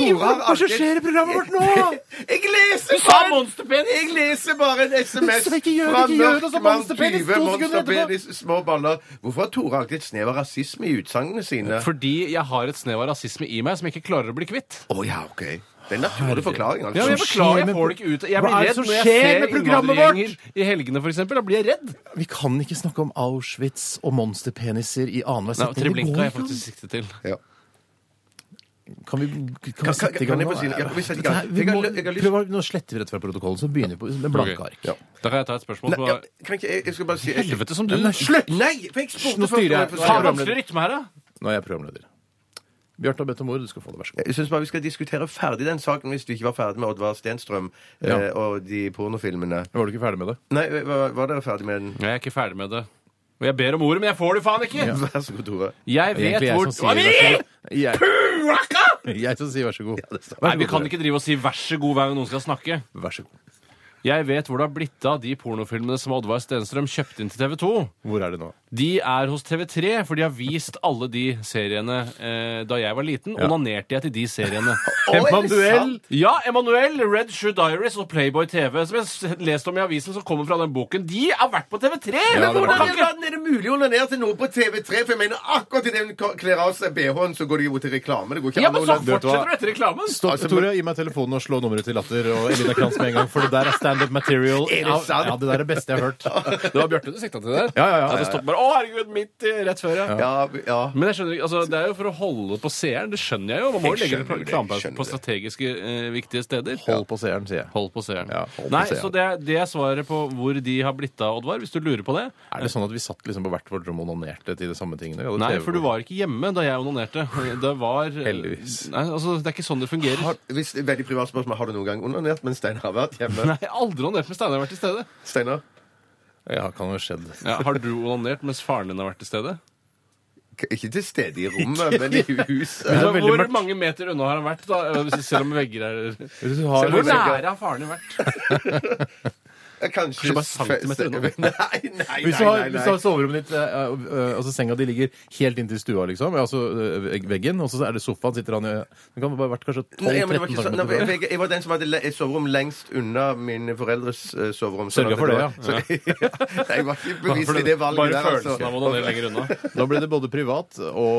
i programmet vårt nå? Jeg leser sa bare monsterpenis! Jeg leser bare en SMS Så ikke gjør det, fra ikke gjør det, mørk så mann monsterpenis, 20. to sekunder etterpå. Monsterpenis, små baller. Hvorfor har Tore alltid et snev av rasisme i utsagnene sine? Fordi jeg har et snev av rasisme i meg som jeg ikke klarer å bli kvitt. Å ja, OK. Det er en naturlig forklaring. Ja, men jeg altså. beklager, skjer med jeg får det ikke ut. Jeg Hva blir er det redd som når jeg skjer ser med programmet innvandrergjenger i helgene, for eksempel. Da blir jeg redd. Vi kan ikke snakke om Auschwitz og monsterpeniser i annenhver Nei, setning. Det Treblinka går har jeg ikke faktisk siktet til. Ja. an. Kan vi, kan vi Kan- sette i kan gang jeg nå? få si det? Ja, kan vi sette i gang? Dette her- vi Jeg har må- lyst- jeg har lyst- prøv å- Nå sletter vi rett fra protokollen, så begynner vi på, med blanke Ok. ark. Da kan jeg ta et spørsmål. Nei, På, ja, kan ikke jeg, jeg skal bare si helvete som du Nei, slutt! Nei! for jeg spurte Nå først om styrer jeg. får Faen, svare. Faen, vanskelig rytme her, da! Nå er jeg programleder. Bjarte har bedt om ordet. Du skal få det. Vær så god. Jeg syns bare vi skal diskutere ferdig den saken hvis du ikke var ferdig med Oddvar Stenstrøm Ja. eh, og de pornofilmene. Var du ikke ferdig med det? Nei, var, var dere ferdig med den? Jeg er ikke ferdig med det. Og jeg ber om ordet, men jeg får det faen ikke! Vær så god, Tore. Jeg vet Egentlig jeg hvor som sier vær så god. Jeg, jeg som sier vær så god. Vær så Nei, vi god, kan Tore. ikke drive og si 'vær så god' hver gang noen skal snakke. Vær så god. Jeg vet hvor det har blitt av de pornofilmene som Oddvar Stenstrøm kjøpte inn til TV 2. Hvor er det nå? De er hos TV3, for de har vist alle de seriene eh, da jeg var liten. Onanerte jeg til de seriene. Emanuel! Ja, Emanuel, Red Shoe Diaries og Playboy TV, som jeg s- leste om i avisen, som kommer fra den boken, de har vært på Ja, TV3! men det var- hvordan Hvordan kan i ikke- verden er det mulig å onanere til noe på TV3? For jeg mener akkurat idet hun k- kler av seg BH-en, så går det jo til reklame. Det går ikke Ja, an men å så onanere- Vet du hva? fortsetter du etter reklamen! Stopp, Tore, gi meg telefonen og slå nummeret til Latter og Elina Kranz med en gang, for det der er standup material. Er det sant? Ja, det der er det beste jeg har hørt. Det var Bjarte du sikta til der? Ja, ja, ja. det stoppet bare, Å, herregud, midt i, rett før, ja. Ja, ja. Men jeg skjønner ikke, altså, det er jo for å holde på seeren. Det skjønner jeg jo. Man må jo Jeg legge skjønner det, jeg reklamepauser skjønner på det. strategisk eh, viktige steder. Hold på seeren, sier jeg. Hold på seeren. Ja, hold på Nei, seeren. så det, er- det er svaret på hvor de har blitt av, Oddvar, hvis du lurer på det. Er det sånn at vi satt liksom på hvert vårt rom og onanerte til de samme tingene? Vi hadde Nei, TV for du var ikke hjemme da jeg onanerte. Det var eh, Heldigvis. Nei, altså, det er ikke sånn det fungerer. Har, hvis, veldig privat spørsmål. Har du noen gang onanert mens Steinar har vært hjemme? Nei, jeg har aldri onanert med Steinar har vært til stede. Steinar? Ja, kan ha skjedd. Ja, har du onanert mens faren din har vært til stede? Ikke til stede i rommet, men i huset. det er Hvor veldig hvor mørkt. mange meter unna har han vært, da? Eh, Hvis- Selv om vegger er Hvis du har, Hvor nære har faren din vært? Kanskje bare centimeter unna. Nei, nei, nei. Hvis du har, nei, hvis du nei. har soverommet ditt eh, eh, Altså senga di ligger helt inntil stua, liksom. ja, Altså eh, veggen, og så er det sofaen sitter han i Det kan bare vært kanskje Nei, men det 12-13 var ikke sånn. Nei, cm. jeg, jeg var den som hadde le- et soverom lengst unna mine foreldres eh, soverom. sånn Sørga at for var- det, Så, Nei, jeg var ikke bevisst i det valget Bare der, altså. følelsen av onanere lenger unna. Da ble det både privat og, og,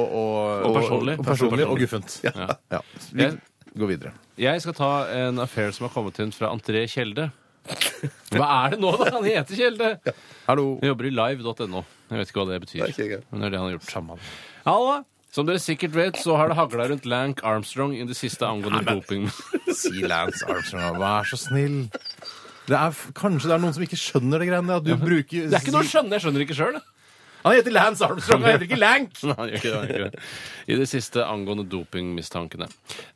Og personlig. Og, personlig, og guffent. Ja. Ja. Vi Jeg- går videre. Jeg skal ta en affair som har kommet inn fra André Kjelde. Hva er det nå, da? Han heter Kjelde! Hallo. Han jobber i live.no. Jeg vet ikke hva det betyr. Det er ikke jeg. Men det er det han har gjort. Halla! Som dere sikkert vet, så har det hagla rundt Lank Armstrong i det siste angående doping. Si Lance Armstrong, vær så snill. Det er, f- kanskje det er noen som ikke skjønner det greiene at du bruker Det er ikke noe å skjønne! Jeg skjønner ikke sjøl. Han heter Lance Armstrong, han heter ikke Lank! Nei, han gjør ikke det, han gjør ikke det. I det siste angående dopingmistankene.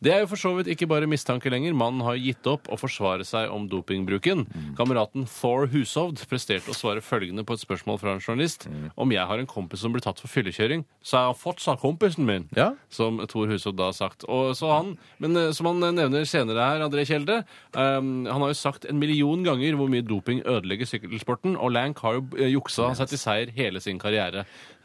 Det er jo for så vidt ikke bare mistanke lenger. Mannen har gitt opp å forsvare seg om dopingbruken. Kameraten Thor Hushovd presterte å svare følgende på et spørsmål fra en journalist. Om jeg har en kompis som ble tatt for fyllekjøring, så er han fortsatt kompisen min. Ja. Som Thor Hushovd da har sagt. Og så han, men eh, som han nevner senere her, André Kjelde, eh, han har jo sagt en million ganger hvor mye doping ødelegger sykkelsporten, og Lank har jo eh, juksa seg til seier hele sin karriere.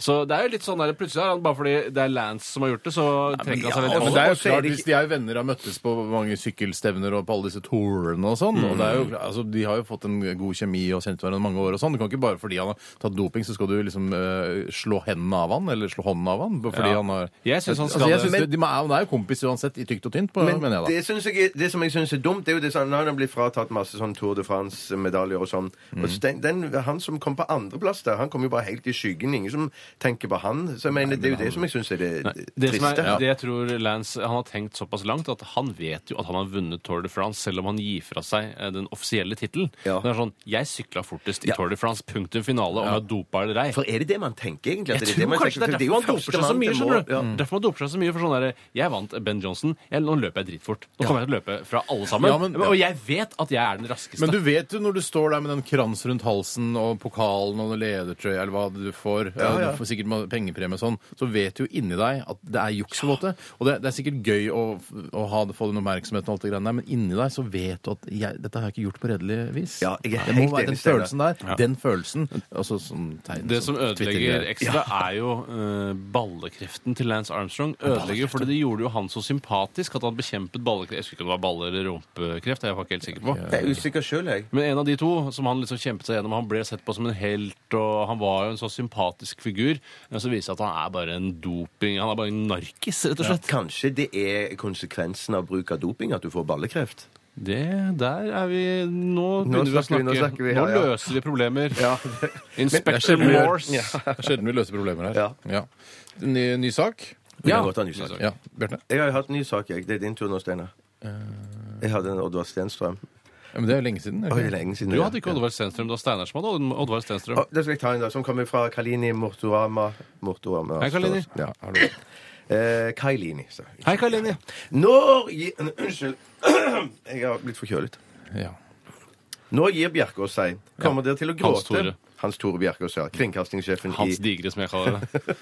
Så det er jo litt sånn der, plutselig er han bare fordi det er Lance som har gjort det, så trekker han seg Ja, litt men det tilbake. er jo Og så er klart, det ikke- Hvis de er jo venner og har møttes på mange sykkelstevner og på alle disse tourene og sånn og det er jo, klart- altså, De har jo fått en god kjemi og kjent hverandre i mange år. og sånn, Du kan ikke bare fordi han har tatt doping, så skal du liksom eh, slå hendene av han, eller slå hånden av han. fordi Ja. han har... Jeg synes han skal altså, jeg det. synes det- de, Han er jo kompis uansett, i tykt og tynt, på, Sånn mener jeg da. det, synes jeg, er- det som jeg syns er dumt, det er jo det sånn, når han blir fratatt masse sånn Tour de France-medaljer og sånn. Og så den, den, han som kom på andreplass der, han kom jo bare helt i skyggen. Ingen som tenker på han. Så jeg mener, det er jo det som jeg syns er det, Det, som triste. er, det jeg tror Lance han har tenkt såpass langt at han vet jo at han har vunnet Tour de France, selv om han gir fra seg eh, den offisielle tittelen. Ja. Det er sånn 'Jeg sykla fortest i Ja. Tour de France', punktum finale, om jeg er dopa eller ei. For er det det man tenker, egentlig? At Jeg det er tror det man kanskje tenker? det er For derfor jo man doper seg så førstemann mye. til skjønner mål. du? Ja. Derfor man doper seg så mye for sånn derre Jeg vant Ben Johnson. Jeg, nå løper jeg dritfort. Nå kommer jeg til å løpe fra alle sammen. Ja, men- Og jeg vet at jeg er den raskeste. Men du vet jo når du står der med den krans rundt halsen og pokalen og den ledertrøya eller hva du får, eh, du får sikkert ma- pengepremie og sånn, så vet du jo inni deg at det er juks på en måte. Og det, det er sikkert gøy å, å ha det, få den oppmerksomheten og alt det greiene der, men inni deg så vet du at jeg, dette har jeg ikke gjort på redelig vis. Ja, jeg er det helt må være enig, den Steinar. følelsen der. Den følelsen. Altså sånn tegn det sånn som ødelegger Twitter-greier. ekstra, er jo eh, ballekreften til Lance Armstrong. Ødelegger fordi det gjorde jo han så sympatisk at han bekjempet ballekreft. Jeg husker ikke om det var balle- eller rumpekreft. Det er jeg faktisk helt sikker på. Jeg er usikker sjøl, jeg. Men en av de to som han liksom kjempet seg gjennom, han ble sett på som en helt, og han var jo en så sympatisk figur. Men så viser det seg at han er bare en doping Han er bare en narkis, rett og slett. Kanskje det er konsekvensen av bruk av doping at du får ballekreft? Det, der er vi Nå begynner vi å snakker vi, snakke. nå Nå, snakker vi, ja, ja. løser vi problemer. Det er Inspector sjelden vi gjør- Morse. Ja. Det er sjelden vi løser problemer her. Ja. Ny, ny sak? Vi kan godt ta en ny sak. Ja, Bjarte? Jeg har jo hatt en ny sak, jeg. Det er din tur nå, Steinar. Jeg hadde en Oddvar Stenstrøm. Ja, men det er jo lenge siden. er det Oi, ikke? det er lenge siden. Du det. hadde ikke Oddvar Stenstrøm, det var Steinar som hadde Oddvar Stenstrøm. Å, Da skal jeg ta en da, som kommer fra Kalini Mortorama. Mortorama Hei, Kalini. Ja. Har du- Eh, Kailini, sa jeg. Hei, Karl Linje. Når gi- Unnskyld. Jeg har blitt forkjølet. Ja. Nå gir Bjerkås seg. Kommer dere til å gråte? Hans Tore. Hans Tore Bjerkås, ja. Kringkastingssjefen i Hans Digre, som jeg kaller det.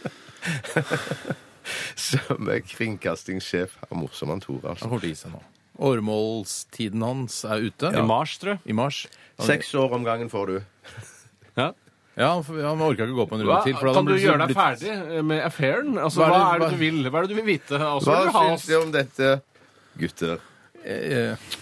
Som er kringkastingssjef. Ja, Morsom han Tore, Han altså. kommer til å gi seg nå. Åremålstiden hans er ute. I mars, tror jeg. I mars. Seks år om gangen får du. Ja. Ja, han, han orka ikke å gå på en runde Hva, til. for da hadde kan du han blitt- gjøre deg blitt- ferdig med affæren? Altså, Hva er hva det- er det hva- du vil? Hva er det du vil vite? Og så Hva vil du ha syns oss. dere om dette, gutter? Eh,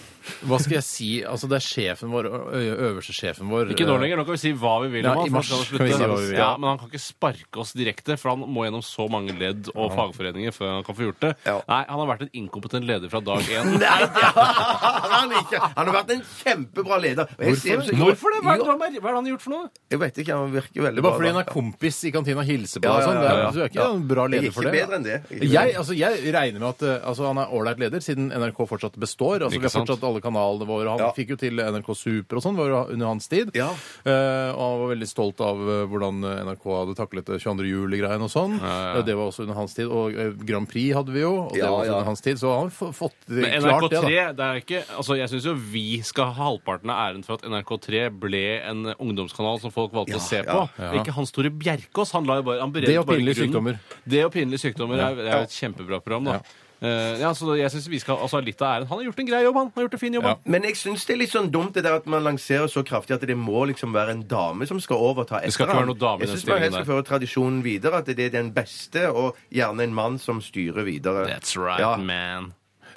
Hva skal jeg si? Altså, det er sjefen vår, ø- øverste sjefen vår Ikke nå lenger. Nå kan vi si hva vi vil Ja, om han. Eh, i mars for han skal kan vi slutte. si hva vi vil. Ja, men han kan ikke sparke oss direkte, for han må gjennom så mange ledd og fagforeninger før han kan få gjort det. Ja. Nei, han har vært en inkompetent leder fra dag Nei, én. det har han ikke! Han har vært en kjempebra leder. Og jeg ser jo så- Hvorfor det? Hva er det, Jo, hva er det han har gjort for noe? Jeg vet ikke, han virker veldig Det er bare fordi han er kompis i kantina og hilser på Ja, deg. og ja, sånn. Det ja, ja. er- Du er ikke Ja. en bra Jeg er leder for ikke det. bedre enn det. Jeg er ikke bedre enn Jeg, det. altså, jeg regner med at eh, altså, han er ålreit leder, siden NRK fortsatt består. Altså, vi Ikke har sant? fortsatt alle alle kanalene våre. Han Ja. fikk jo til NRK Super og sånn var jo under hans tid. Ja. Eh, og han var veldig stolt av eh, hvordan NRK hadde taklet det 22. juli-greien og sånn. Eh, Det var også under hans tid. Og eh, Grand Prix hadde vi jo, og det Ja, var også ja. under hans tid. Så han har f- fått det Men klart, det, NRK3, da. det er ikke Altså, jeg syns jo vi skal ha halvparten av æren for at NRK3 ble en ungdomskanal som folk valgte å se på. ja. Ikke Hans Tore Bjerkås. Han la jo bare Han beredte Det og bare pinlige grunnen. sykdommer. Det og pinlige sykdommer er, er jo et kjempebra program, da. Eh, ja, så jeg syns vi skal altså, ha litt av æren. Han har gjort en grei jobb, han. han har gjort en fin jobb, Ja. han. Men jeg syns det er litt sånn dumt det der at man lanserer så kraftig at det må liksom være en dame som skal overta etter skal ikke være noen dame i Jeg den syns man helst stillingen skal føre tradisjonen videre, at det er den beste, og gjerne en mann som styrer videre. That's right, Ja. man.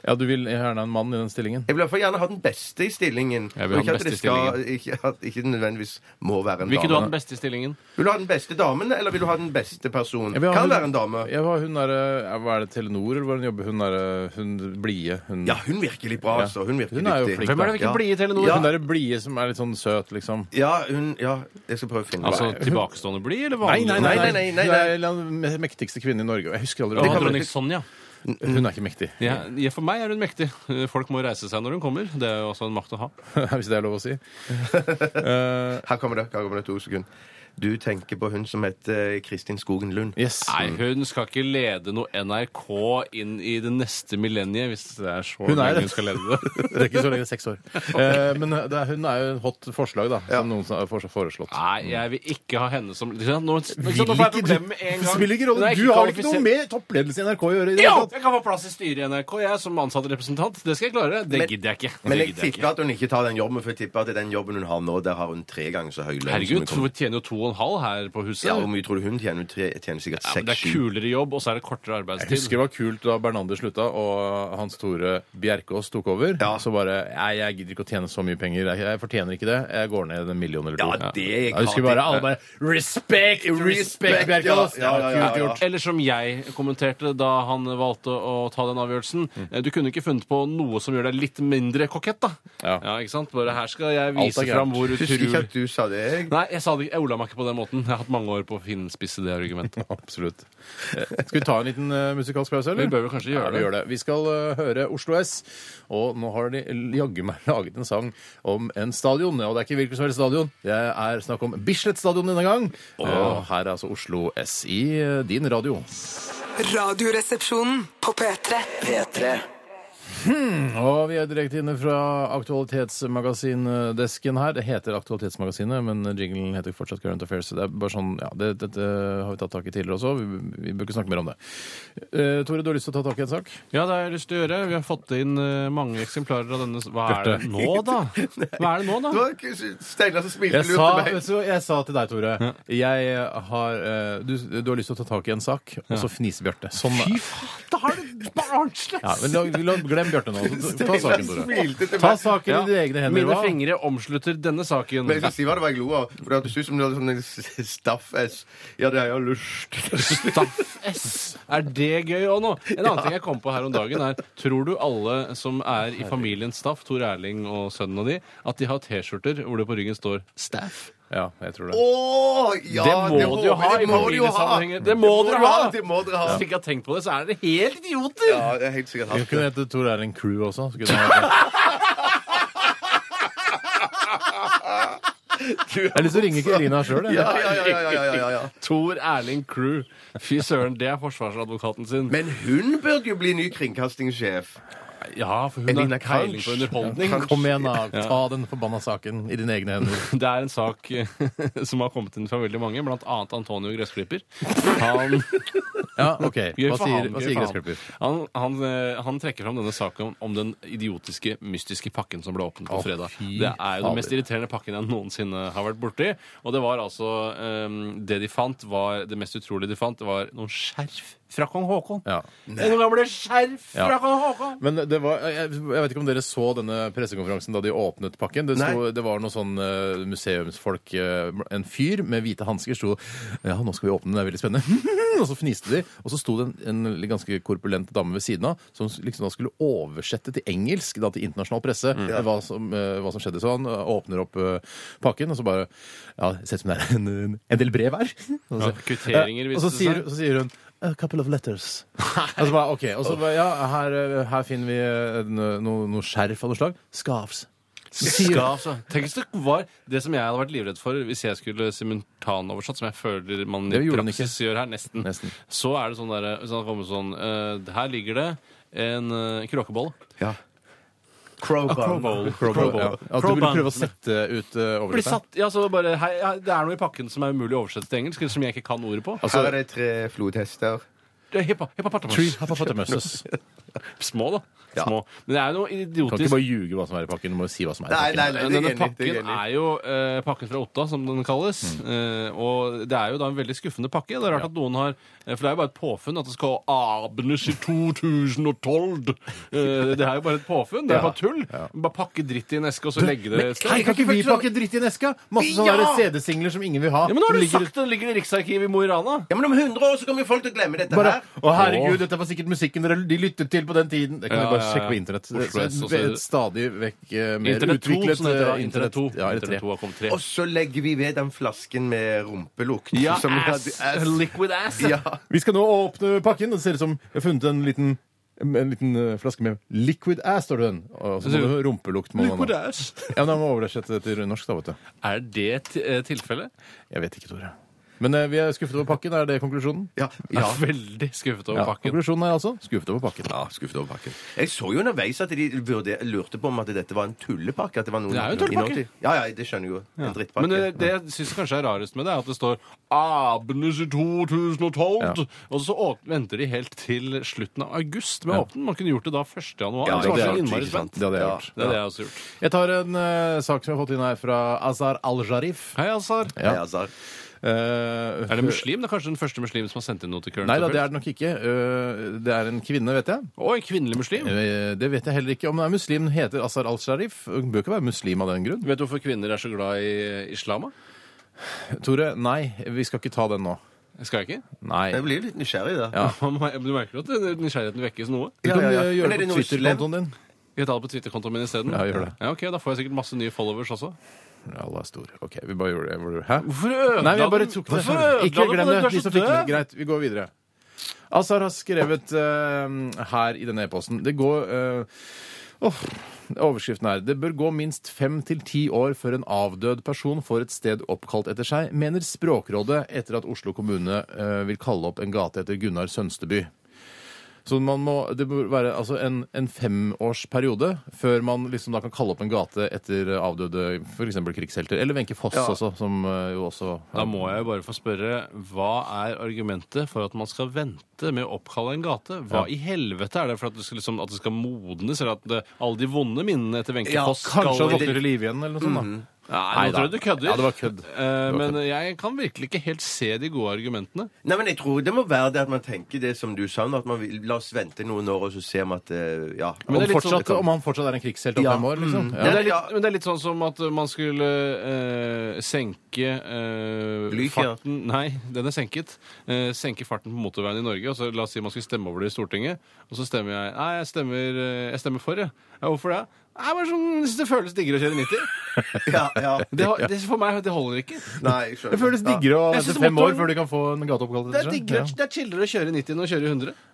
Ja, du vil gjerne ha en mann i den stillingen? Jeg vil i hvert fall gjerne ha den beste i stillingen. Jeg vil ha Og ikke den at det beste i skal- Ikke at ikke nødvendigvis må være en Vil ikke du ha den dame. beste i stillingen? Vil du ha den beste damen, eller vil du ha den beste personen? Jeg vil ha Kan hun- være en dame. Jeg var hun der, eh, hva er det, Telenor, eller hvor hun jobber? Hun derre hun blide. Hun, Ja, hun virker litt bra, altså. Hun virker Hun er jo dyktig. flink, Hvem er det vi ikke Ja. blide i Telenor? Ja. hun derre blide som er litt sånn søt, liksom. Ja, hun, ja, jeg skal prøve å finne henne. Altså tilbakestående blid, eller vanlig? nei, nei, nei, nei, nei. Hun er den mektigste kvinnen i Norge. og Jeg husker aldri Å, hva hun dronning het. Sonja. Hun er ikke mektig, Ja, ja, for meg er hun mektig. Folk må reise seg når hun kommer. Det er jo også en makt å ha. hvis det er lov å si. Eh, Her kommer det. Her kommer det to sekunder. Du tenker på hun som heter eh, Kristin Skogen Lund. yes. Mm. Nei, hun skal ikke lede noe NRK inn i det neste millenniet, hvis det er så Hun er lenge det. hun skal lede det. Det er ikke så lenge, det er seks år. Eh, men det er, hun er jo en hot forslag, da, som noen har fors- foreslått. Nei, jeg vil ikke ha henne som Ikke sant, Nå, ikke sant, Vil nå får jeg ikke problemer med en det gang. spiller ikke Hun rolle. er Du har ikke noe kvalifisert. med toppledelsen i NRK å gjøre. i det Jo! hele tatt. Jeg kan få plass i styret i NRK, jeg, som ansatt representant. Det skal jeg klare. Det Men- gidder jeg ikke. Det Men jeg gidder jeg tipper ikke. at hun ikke tar den jobben, for jeg tipper at den jobben hun har nå, der har hun tre ganger så høy lønn. som hun Herregud, kommer- hun tjener jo to og en halv her på huset. ja, Hvor Ja, mye tror du hun tjener? Hun tre- tjener sikkert men det er seks-sju. kulere jobb, og så er det kortere Jeg husker arbeidstid. det var kult da Bernander slutta og Hans Tore Bjerkås tok over. Ja. Så bare Nei, jeg gidder ikke å tjene så mye penger. Jeg, jeg fortjener ikke det. Jeg går ned en million eller to. Ja, det er jeg husker bare alle bare Respect! Respect, Respect, Bjerkås! ja, ja, ja, ja, ja. Kult gjort. Eller som jeg kommenterte da han valgte å ta den avgjørelsen. eh, Du kunne ikke funnet på noe som gjør deg litt mindre kokett, da. Ja, Ja. ikke sant? Bare her skal Alt jeg vise er gærent. fram hvor Husker ikke utrolig at du sa det. Jeg. Nei, jeg sa det ikke. Jeg ola meg ikke på den måten. Jeg har hatt mange år på å finspisse det argumentet. Absolutt. Eh, Skal vi ta en liten eh, musikalsk pause, eller? Vi bør vel kanskje gjøre ja, vi det. gjør det. Vi skal eh, høre Oslo S, og nå har de jaggu meg laget en sang om en stadion. Og det er ikke hvilken som helst stadion, det er snakk om Bislett stadion denne gang. Og her er altså Oslo S i eh, din radio. Radioresepsjonen på P3. P3 Og vi er direkte inne fra aktualitetsmagasindesken her. Det heter Aktualitetsmagasinet, men jinglen heter fortsatt Current Affairs. Så Det er bare sånn, ja, det, Dette har vi tatt tak i tidligere også. Vi, vi bør ikke snakke mer om det. Eh, Tore, du har lyst til å ta tak i en sak? Ja, det har jeg lyst til å gjøre. Vi har fått inn eh, mange eksemplarer av denne s- Hva er det nå, da? Hva er det nå, Det da? var ikke- Steinar som smilte Jeg sa, lurt til meg. vet du hva, jeg sa til deg, Tore jeg har, eh, du, du har lyst til å ta tak i en sak, og så fniser Bjarte. Sånn, Fy faen, da er det barnslig! ja, men la, la, glem Bjarte nå. så Ta Steinar saken, Tore. smilte til Ta meg. saken i dine egne hender. Mine hva? fingre omslutter denne saken. Men jeg skal si hva det var jeg lo av. For det hørtes ut som du hadde sånn en s- staff-s. Ja, det har jeg lyst Staff-S! Er det gøy òg nå? En annen ting jeg kom på her om dagen, er Tror du alle som er i familien Staff, Tor Erling og sønnen og de, at de har T-skjorter hvor det på ryggen står Staff? Ja, jeg tror det. Å, ja! det må håper du jo ha jeg. i Det må du jo ha. familiesammenhenger. Det må dere ha! Det må dere ha. Hvis ikke har tenkt på det, så er dere helt idioter! Ja, det er helt sikkert Jeg hatt kunne det. hete Tor Erling Crew også. så kunne jeg hete- Jeg har lyst til å ringe Elina sjøl. Ja, ja, ja, ja, ja, ja, ja. Tor Erling Crew. Fy søren, det er forsvarsadvokaten sin. Men hun burde jo bli ny kringkastingssjef. ja, for hun Elina har peiling Karls. på underholdning. Kom igjen, da. Ta den forbanna saken i dine egne hender. Det er en sak som har kommet inn fra veldig mange, blant annet Antonio Gressklipper. Han Ja, ok. Gøy Hva for sier, han, hva gøy sier for gressklipper? Han, han, han, eh, han trekker fram denne saken om, om den idiotiske, mystiske pakken som ble åpnet på Å, fredag. fy Det er jo den mest fader. irriterende pakken jeg noensinne har vært borti. Og det var altså eh, Det de fant, var det mest utrolige de fant, det var noen skjerf fra kong Haakon. Ja. Noen gamle skjerf fra Ja. kong Haakon! Men det var, jeg, jeg vet ikke om dere så denne pressekonferansen da de åpnet pakken. Det, sto, Nei. det var noen sånn eh, museumsfolk eh, En fyr med hvite hansker sto Ja, nå skal vi åpne den, det er veldig spennende. og så fniste de. Og så sto det en, en ganske korpulent dame ved siden av som liksom da skulle oversette til engelsk da til internasjonal presse Mm. eh, hva, som, eh, hva som skjedde. Så han eh, åpner opp eh, pakken, og så bare Ja, det ser ut som det er en, en del brev her. Og så- Ja, kvitteringer, Eh, viste Og så det sier, seg. så sier hun a couple of letters. Altså, bare, ok, og så bare, ja, her, eh, her finner vi eh, no- noe noe skjerf av noe slag. Scarves. Skal, altså. Tenk hvis det var det som jeg hadde vært livredd for hvis jeg skulle simultanoversatt, som jeg føler man i Det gjorde han praksis gjør her, nesten. Nesten. Så er det sånn derre Hvis han kommer sånn eh, Her ligger det en uh, kråkebolle. Ja. Crowbar. Crowball. Ja. At du ville prøve å sette ut eh, Bli oversettet? satt, ja, så bare, hei, ja, det er noe i pakken som er umulig å oversette til engelsk, som jeg ikke kan ordet på. Altså, Her er det tre flodhester. Det er hippa- Hippopotamus. Tree Hippopotamuses. Små, da. Små. Men det er jo noe Kan ikke idiotisk bare ljuge hva som er i pakken. Du må jo si hva som er i Nei, pakken. nei, nei, det er Denne jeg enig, det er pakken jeg enig. i. er jo eh, pakken fra Otta, som den kalles. Mm. Eh, og det er jo da en veldig skuffende pakke. Det er rart at noen har eh, For det er jo bare et påfunn at det skal abnes i 2012. Eh, det er jo bare et påfunn. Det er bare tull. Bare pakke dritt i en eske og så legge det et sted. Eh, Hei, kan ikke vi pakke dritt i en eske? Masse sånne Ja! der CD-singler som ingen vil ha. Ja, men nå som har du ligger- sagt det! Det ligger i Riksarkivet i Mo i Rana. Ja, men om 100 år så kommer folk til å glemme dette bare, her. Å, herregud, dette var sikkert musikken dere de lyttet til på den tiden. Det kan Ja, du bare ja, ja. sjekke på internett. Det Oslo er S, og et, så- et stadig vekk eh, mer Internett 2, utviklet som det heter. da. eh, Internett 2. Ja, Internett 2 har kommet tre. Og så legger vi ved den flasken med rumpelukt. Ja, som- ass! Liquid ass! Ja. Vi skal nå åpne pakken. Det ser ut som jeg har funnet en liten en liten eh, flaske med liquid ass, står det den. Og så må du rumpelukt. Må man, Liquid ha. ass. ja, men da må man oversette det til norsk, da, vet du. Er det t- eh, tilfellet? Jeg vet ikke, Tore. Men eh, vi er skuffet over pakken. Er det konklusjonen? Ja, Jeg ja. er veldig skuffet over Ja, pakken. konklusjonen er altså skuffet over pakken. Ja, skuffet over pakken. Jeg så jo underveis at de vurder- lurte på om at dette var en tullepakke. At det var noen Det er jo en tullepakke. innhold til- Ja, ja, det skjønner jeg jo. En drittpakke. Men eh, det jeg syns kanskje er rarest med det, er at det står Abnes i 2012. Og så åp- venter de helt til slutten av august med å åpne den. Man kunne gjort det da 1. januar. Ja, det, det var er så sant, innmari ikke sant. spent. Det hadde jeg Ja. gjort. Det er det jeg også har gjort. Jeg tar en eh, sak som jeg har fått inn her fra Azar Al-Jarif. Hei, Azar. Ja, altså. Eh, Er det muslim? Det er kanskje den første muslim som har sendt inn noe til Current Nei da, det Affairs? er det nok ikke. Eh, Det er en kvinne, vet jeg. Og en kvinnelig muslim. Eh, Det vet jeg heller ikke. Om hun er muslim, hun heter Azar al-Sharif. Hun bør ikke være muslim av den grunn. Vet du hvorfor kvinner er så glad i islam? da? Tore, nei, vi skal ikke ta den nå. Skal jeg ikke? Nei. Jeg blir jo litt nysgjerrig, da. Du merker at det- nysgjerrigheten vekkes noe? Du kan Ja, ja, eh, ja. Men gjøre er det det på noe Twitter-kontoen din. Skal jeg ta det på Twitter-kontoen min isteden? Ja, gjør det. Ja, ok, Da får jeg sikkert masse nye followers også. Ja, Allah er stor. OK, vi bare gjorde det. Hæ? Hvorfor ødela Nei, vi den? bare tok det. Hvorfor Ikke ødela den? glem det. Du er De så som fikk det. døv. Greit, vi går videre. Azar har skrevet eh, her i denne e-posten Det går eh, åh, Overskriften er Det bør gå minst fem til ti år før en avdød person får et sted oppkalt etter seg, mener Språkrådet etter at Oslo kommune eh, vil kalle opp en gate etter Gunnar Sønsteby. Så man må, Det bør være altså en, en femårsperiode før man liksom da kan kalle opp en gate etter avdøde f.eks. krigshelter. Eller Wenche Foss også, som eh, jo også Da må jeg jo bare få spørre, hva er argumentet for at man skal vente med å oppkalle en gate? Hva i helvete er det for at det skal, liksom, at det skal modnes, eller at det, alle de vonde minnene etter Wenche Ja, Foss skal Kanskje han Mm. våkner i live igjen, eller noe sånt. da. Nei, nå da. tror jeg du kødder. Ja, det var kødd. Eh, men jeg kan virkelig ikke helt se de gode argumentene. Nei, men jeg tror det må være det at man tenker det som du sa, nå, at man vil, la oss vente noen år, og så ser vi at eh, Ja. Men Om, det er litt sånn- fortsatt, om han fortsatt er en krigshelt om Ja. fem år, liksom. Men Ja. det, er litt, Ja. men det er litt sånn som at eh, man skulle eh, senke eh, Blyk, ja. farten Nei, den er senket. Eh, senke farten på motorveien i Norge. Og så La oss si man skulle stemme over det i Stortinget. Og så stemmer jeg Nei, jeg stemmer, eh, jeg stemmer for, jeg. Ja, hvorfor det? Nei, bare sånn, jeg synes Det føles diggere å kjøre 90. ja, ja. Det, har- det, for meg det holder ikke. Nei, jeg skjønner. Det føles diggere å Jeg vente synes fem motoren- år før du kan få en gate oppkalt Det er, etter seg. diggere, det er chillere å kjøre 90 enn å kjøre 100. Ja.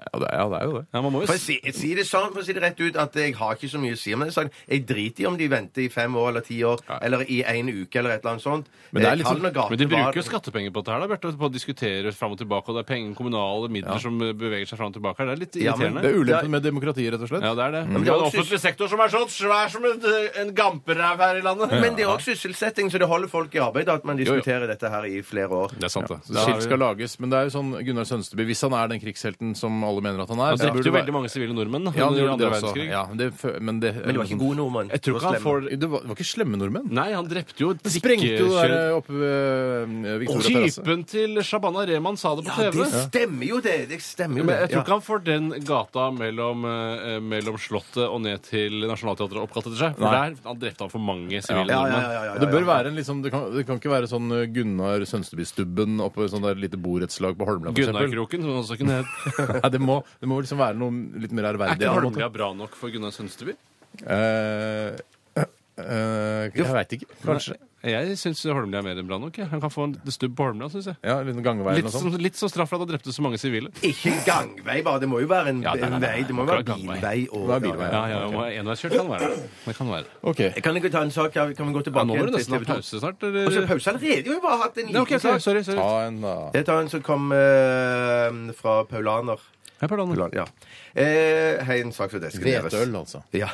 Ja, det er- ja, det er jo det. Ja, man må jo For å si, si det sånn, for å si det rett ut, at jeg har ikke så mye å si om den saken. Jeg driter i om de venter i fem år eller ti år, eller i en uke eller et eller annet sånt. Eh, Men det er litt Kallen og sånn- Men de gatebarn- bruker jo skattepenger på dette her, da, Bjarte, på å diskutere fram og tilbake, og det er penger, kommunale midler som beveger seg fram og tilbake. her. Det er litt Ja, men irriterende. Det er ulempen med demokratiet, rett og slett. Ja, det er det. Men det er også- sektor som er så svær som en, eh, en gamperæv her i landet. Men det er også sysselsetting, så det holder folk i arbeid at man diskuterer dette her i flere år. Det er sant, det. Så skilt skal lages, men det er jo sånn Gunnar Sønsteby Hvis han er den krigshelten som alle mener at han er Han drepte jo burde veldig mange sivile nordmenn da, ja, han under gjorde det andre også. verdenskrig. Ja, men det, fø- men det, Men det var ikke gode nordmenn. Jeg tror ikke han får Det var, det var ikke slemme nordmenn. Nei, han drepte jo Det sprengte jo trikkekjør- der eh, oppe ved eh, Victoria Terrasse. Typen til Shabana Rehman sa det på Ja, TV. det stemmer jo det! Det stemmer jo Men det. jeg tror Ja. ikke han får den gata mellom, eh, mellom Slottet og ned til Nationaltheatret oppkalt etter seg. For Nei. der han drepte han for mange sivile Ja, ja, nordmenn. ja, ja, ja, Det bør ja. være en liksom, det kan, det kan ikke være sånn eh, Gunnar Sønsteby-stubben oppe i sånn der lite borettslag på Holmlia. for eksempel. Gunnarkroken, som han også kunne hett. Nei, det, må, det må liksom være noe litt mer Er ærverdig. ikke på en måte. Holmlia bra nok for Gunnar Sønsteby? Eh, eh, jeg veit ikke. Kanskje. Jeg syns Holmlia er mer enn bra nok. jeg. Han kan få en stubb på Holmlia, syns jeg. Ja, en liten gangvei eller Litt noe sånn- som, sånt. litt som straff for at han drepte så mange sivile. Ikke gangvei, bare. Det må jo være en, Ja, nei, nei, en nei, vei. Det må jo akkurat være gangvei. bilvei. Og, Det er bilvei, Ja, ja, ja, Enveiskjørt kan være det. det. kan være. det. Ok. Kan jeg ikke ta en sak? her? Kan vi gå Ja, tilbake nå må du igjen nesten ha TV 2? pause snart. Og så Eller? pause allerede? Vi har bare hatt en Nei, ok, liten sak. sorry, sorry, sorry. Ta en, da. Jeg tar en som kom eh, fra Paulaner. Hei, Paulaner. Paulan, ja. Eh, hei, en sak som det skrives. Hvetøl, altså. Ja.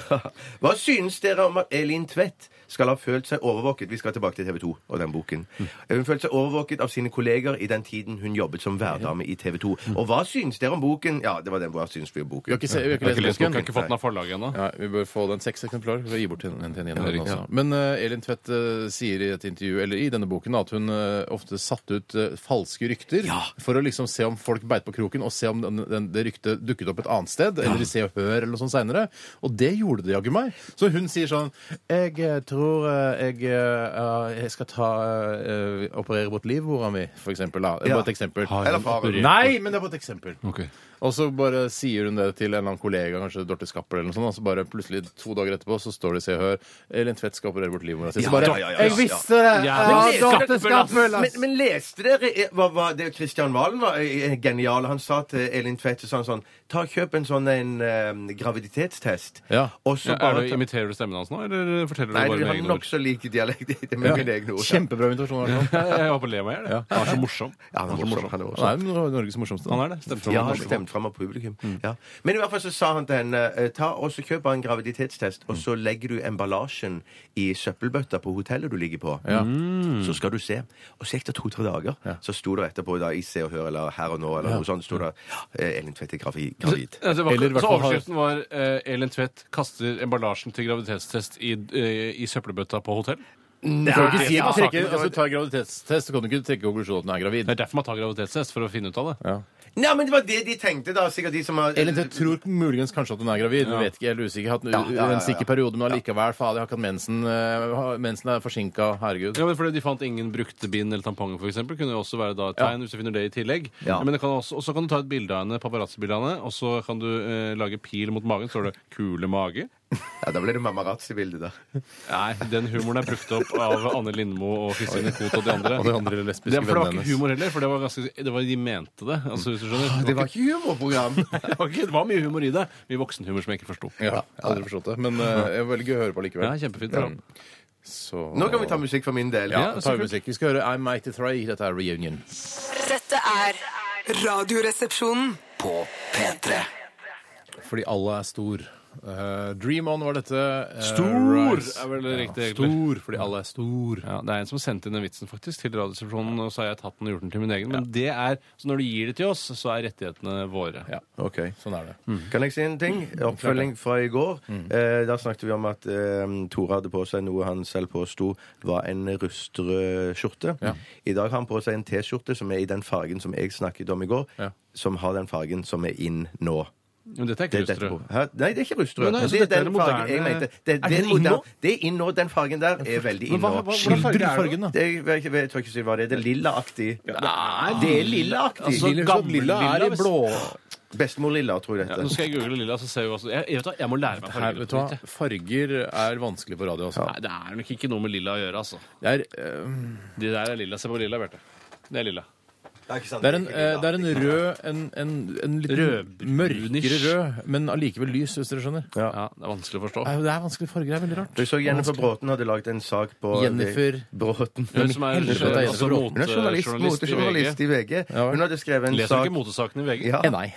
Hva synes dere om at Elin Tvedt skal ha følt seg overvåket Vi skal tilbake til TV 2 og den boken. Mm. Hun følte seg overvåket av sine kolleger i den tiden hun jobbet som værdame i TV 2. Mm. Og hva synes dere om boken? Ja, det var den hva synes vi om Vi har boken. ikke, se, vi har Jeg har ikke lest boken. Har ikke fått den av forlaget ennå. Ja, vi bør få den seks eksemplarer. Vi gir bort til en til en Ja, igjen. riktig. altså. Men eh, Elin Tvedt eh, sier i et intervju eller i denne boken da, at hun eh, ofte satte ut eh, falske rykter Ja. for å liksom se om folk beit på kroken, og se om den, den, det ryktet dukket opp et annet sted, eller i Se og Hør eller noe sånt seinere. Og det gjorde det jaggu meg. Så hun sier sånn Jeg eh, tror eh, jeg, eh, jeg skal ta eh, operere bort livmora mi, for eksempel. Da. Det er Ja. Bare et eksempel. Har hun Eller faren. operert- Nei, men det er bare et eksempel. Ok. Og så bare sier hun det til en eller annen kollega, kanskje Dorte Skapper eller noe sånt, og så bare plutselig to dager etterpå så står det i Se og Hør Elin Tvedt skal operere bort livmora si. Så Ja, bare ja, ja, ja, ja. Jeg visste det! Ja, Ja, men- Dorte Skapper! Men, men leste dere eh, hva, hva, det Christian Valen var eh, genial. Han sa til Elin Tvedt så sa han sånn Ta og Kjøp en sånn en, eh, graviditetstest. Ja. Og så Ja, er bare du, ta- imiterer du stemmen hans nå, eller forteller Nei, du bare vi med har egne ord? nokså lik dialekt i det med mine egne ord. Kjempebra invitasjon. i hvert fall. Jeg var på le meg i hjel. jeg. Han er så morsom. Ja, han er morsom. Han er morsom. Han er jo Norges morsomste. Han er det. Mm. Stemte Ja, han stemte fram av publikum. Ja. Men i hvert fall så sa han til henne eh, ta og så kjøp en graviditetstest, Mm. og så legger du emballasjen i søppelbøtta på hotellet du ligger på. Mm. Mm. Så skal du se. Og så gikk det to-tre dager, så sto det etterpå da, i Se og Hør eller Her og Nå eller noe sånt, sto det ja, eh, Elin Tvedt er gravi- gravid. Ja, det var, Eller i hvert så fall har- overskriften var eh, Elin Tvedt kaster emballasjen til graviditetstest i, eh, i søppelbøtta på hotell. Du kan ikke si ja, at du trekker, saken- altså, du tar graviditetstest, så kan du ikke trekke konklusjonen at hun er gravid. Det er derfor man tar graviditetstest, for å finne ut av det. Nei, men det var det de tenkte, da. Sikkert de som har Elin Tvedt tror muligens kanskje at hun er gravid. Hun vet ikke, jeg er usikker. Hatt en, Ja, ja, ja, ja. en sikker periode, men allikevel, fader, jeg har ikke hatt mensen. eh, Mensen er forsinka, herregud. Ja, men fordi De fant ingen brukte bind eller tamponger, f.eks. Kunne jo også være da et tegn, hvis du finner det i tillegg. Ja. Men det kan også, også kan du ta et bilde av henne, paparazzi-bilde av henne, og så kan du eh, lage pil mot magen. Står det 'kule mage'? Ja, da ble det mamarazzi-bildet, da. Nei, den humoren er brukt opp av Anne Lindmo og Kristine Koht og de andre. Og de andre lesbiske det, for det vennene var ikke hennes. Ah, humor heller, for det var, ganske, det var de mente det. Altså, hvis du skjønner. Det var ikke humorprogram. det, var ikke, det var mye humor i det. Mye voksenhumor som jeg ikke forsto. Ja, aldri forstått det. Men eh, jeg velger å høre på likevel. Ja, kjempefint program. Så... Nå kan vi ta musikk for min del. Ja, Ja, da så tar vi kult. musikk. Vi skal høre I'm 83. Dette er Reunion. Dette er Radioresepsjonen. På P3. Fordi alle er stor. Eh, Dream On var dette. eh, Stor Rise. er vel det riktige, ja, Stor, egentlig. fordi alle er stor. Ja, det er en som sendte inn den vitsen faktisk til Radioresepsjonen, og så har jeg tatt den og gjort den til min egen. Men det er, så når du gir det til oss, så er rettighetene våre. Ja. Ok. Sånn er det. Mm. Kan jeg si en ting? Mm. Oppfølging fra i går. Eh, da snakket vi om at eh, Tore hadde på seg noe han selv påsto var en rustrød skjorte. I dag har han på seg en T-skjorte som er i den fargen som jeg snakket om i går, Ja. som har den fargen som er inn nå. Men dette er Det ikke er dette rustrød. på- Hæ? Nei, det er ikke rustrød. Men nei, så det er dette er den det fargen jeg moderne- mente. Det, Er det, den er inn nå? moderne- det er inn nå. Den fargen der er veldig inn nå. hvordan farge er det? fargen, da? Det, jeg, vet ikke- jeg tror ikke jeg sier hva det er. Det er lillaaktig. Nei, Det er lillaaktig. Altså, Lilla- gammel sånn Lilla er i hvis- blå. Bestemor Lilla, tror jeg Ja, altså- dette. nå skal jeg google lilla, så ser vi hva som jeg, jeg, vet hva, jeg må lære meg Her, farger. vet du hva? Farger er vanskelig på radio. Altså. Nei, det er nok ikke noe med lilla å gjøre, altså. Det, er, eh, De der er lilla. Se på lilla, Bjarte. Det er lilla. Det er ikke sant, det, er en, ikke eh, lilla. det er en rød En, en, en litt mørkere Rødbrunish. rød, men allikevel lys, hvis dere skjønner. Ja. Ja, det er vanskelig å forstå. Nei, Det er vanskelige farger. Det er veldig rart. Jeg så Jennifer Bråten hadde laget en sak på Jennifer Bråten. Hun som er helvete, det er altså, Jennifer Bråten. Hun er journalist, motejournalist i motejournalist VG. i VG. Ja. Hun hadde skrevet en Leser du sak ikke motesakene i VG? ja, Eh, Nei.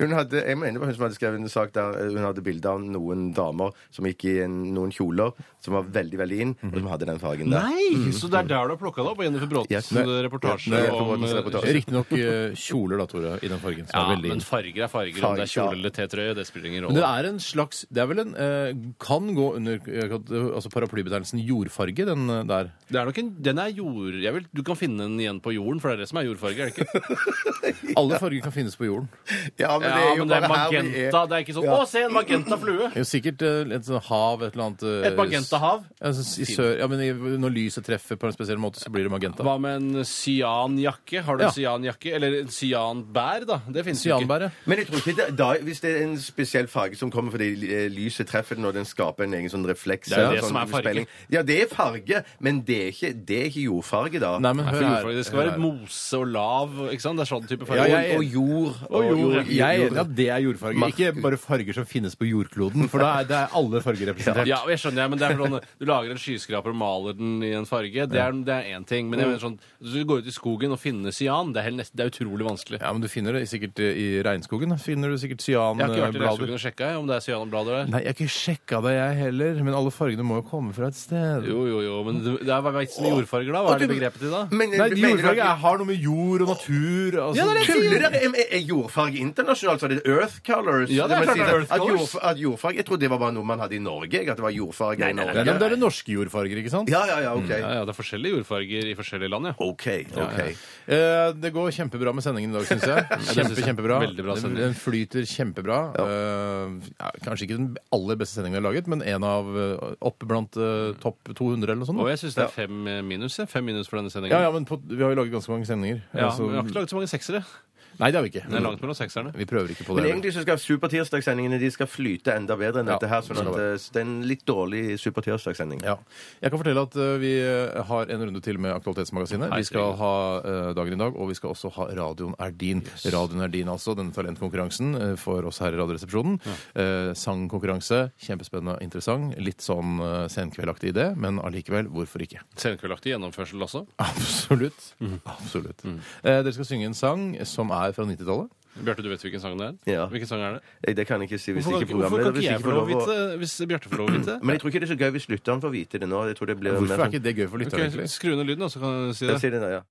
hun hadde, Jeg mener det var hun som hadde skrevet en sak der eh, hun hadde bilde av noen damer som gikk i en, noen kjoler som var veldig veldig inn, og som hadde den fargen der. Nei! Så det er der du har plukka det opp? og Jennifer Bråtens Yes. eh, reportasje Nei, Jennifer om Bråtens reportasje. Riktignok eh, kjoler, da, Tore, i den fargen. Som Ja, er veldig men inn. farger er farger. om det er Farger, ja. kjole eller T-trøye, det spiller ingen Men det rolle. er en slags Det er vel en eh, Kan gå under eh, altså paraplybetegnelsen jordfarge, den eh, der. Det er nok en, den er jord... Jeg vil, du kan finne den igjen på jorden, for det er det som er jordfarge, er det ikke? Alle farger kan finnes på jorden. Ja, men det er jo men det er bare her vi magenta. er. Det er ikke sånn Å, se, en magenta flue! Det er jo sikkert eh, et sånt hav, et eller annet eh, Et magentahav. Altså, s- i sør, ja, men i, når lyset treffer på en spesiell måte, så blir det magenta. Hva med en cyanjakke? Har du Ja. en cyanjakke? Eller en cyanbær, da? Det finnes jo ikke. Cyanbær, ja. Men jeg tror ikke det, da, hvis det er en spesiell farge som kommer fordi eh, lyset treffer den, og den skaper en egen sånn refleks Det er jo eller det sånn som er farge. speiling. Ja, det er farge, men det er ikke, det er ikke jordfarge, da. Nei, men Nei, hør for her. jordfarge. Det skal være hør her. mose og lav. ikke sant? Det er sånn type farge. Ja, jeg- og, og jord. Og jord, ja. Jeg er enig i at det er jordfarger. Ikke bare farger som finnes på jordkloden, for da er det er alle farger representert. Ja, jeg skjønner, men det er sånn Du lager en skyskraper og maler den i en farge. Det er det er én ting. Mm. Men jeg mener sånn, hvis du går ut i skogen og finner cyan, det er, helt nest, det er utrolig vanskelig. Ja, men du finner det sikkert eh, i regnskogen. da. Finner du sikkert Jeg har ikke vært i cyanblader. regnskogen og sjekka om det er cyanblader der. Nei, jeg har ikke sjekka det, jeg heller. Men alle fargene må jo komme fra et sted. Jo, jo, jo, men det det er hva er vitsen med jordfarger, da? Hva er det begrepet til da? Men, Nei, mener de du at- jordfarger er- har noe med jord og natur altså. Ja, det er det jeg sier. Tuller dere? Er, er- er jordfarge internasjonalt? Så er det Earth Colors? Ja, det er Man klart sier det er Earth at Colours. jordf- At jordfarge, Jeg trodde det var bare noe man hadde i Norge. jeg, At det var jordfarge i Norge. Nei, men det er det norske jordfarger, ikke sant? Ja, ja, ja, ok. Ja, ja, det er forskjellige jordfarger i forskjellige land, ja. OK. ok. Eh, Det går kjempebra med sendingen i dag, syns jeg. synes Kjempe, jeg. kjempebra. Veldig bra Den, sending. den flyter kjempebra. Eh, ja, kanskje ikke den aller beste sendingen vi har laget, men en av eh, oppe blant eh, topp 200 eller noe sånt. Og da. jeg syns det er fem eh, minus jeg. Fem minus for denne sendingen. Ja, ja, men på, vi har jo laget ganske mange sendinger. Ja, Altså, Mm. men Vi har ikke laget så mange seksere. nei, det har vi ikke. Det er langt mellom sekserne. Vi prøver ikke på Men det. egentlig så skal supertirsdagssendingene de skal flyte enda bedre enn Ja, dette her. Sånn skal at eh, det er en litt dårlig supertirsdagssending. Ja. Jeg kan fortelle at eh, vi eh, har en runde til med Aktualitetsmagasinet. Vi skal ha eh, Dagen i dag, og vi skal også ha Radioen er din. Radioen er din, altså. Denne talentkonkurransen eh, for oss her i Radioresepsjonen. Eh, sangkonkurranse. Kjempespennende og interessant. Litt sånn eh, senkveldaktig idé, men allikevel, hvorfor ikke? Senkveldaktig gjennomførsel også. Absolutt. Absolutt. Mm. Eh, dere skal synge en sang som er fra 90-tallet. Bjarte, du vet hvilken sang det er? Ja. Hvilken sang er det? Eh, Det kan jeg ikke si hvis Hvorfor kan ikke ikke, hvorfor programmet hvis kan ikke eh? jeg ikke få lov å å Mm. vite hvis Bjarte får lov å vite? Men jeg tror ikke det er så gøy hvis lytteren får vite det nå. Jeg tror det blir mer Hvorfor er sånn- ikke det gøy for Ok, lytterne, egentlig? Skru ned lyden, da, så kan du si Jeg det. sier det nå, ja.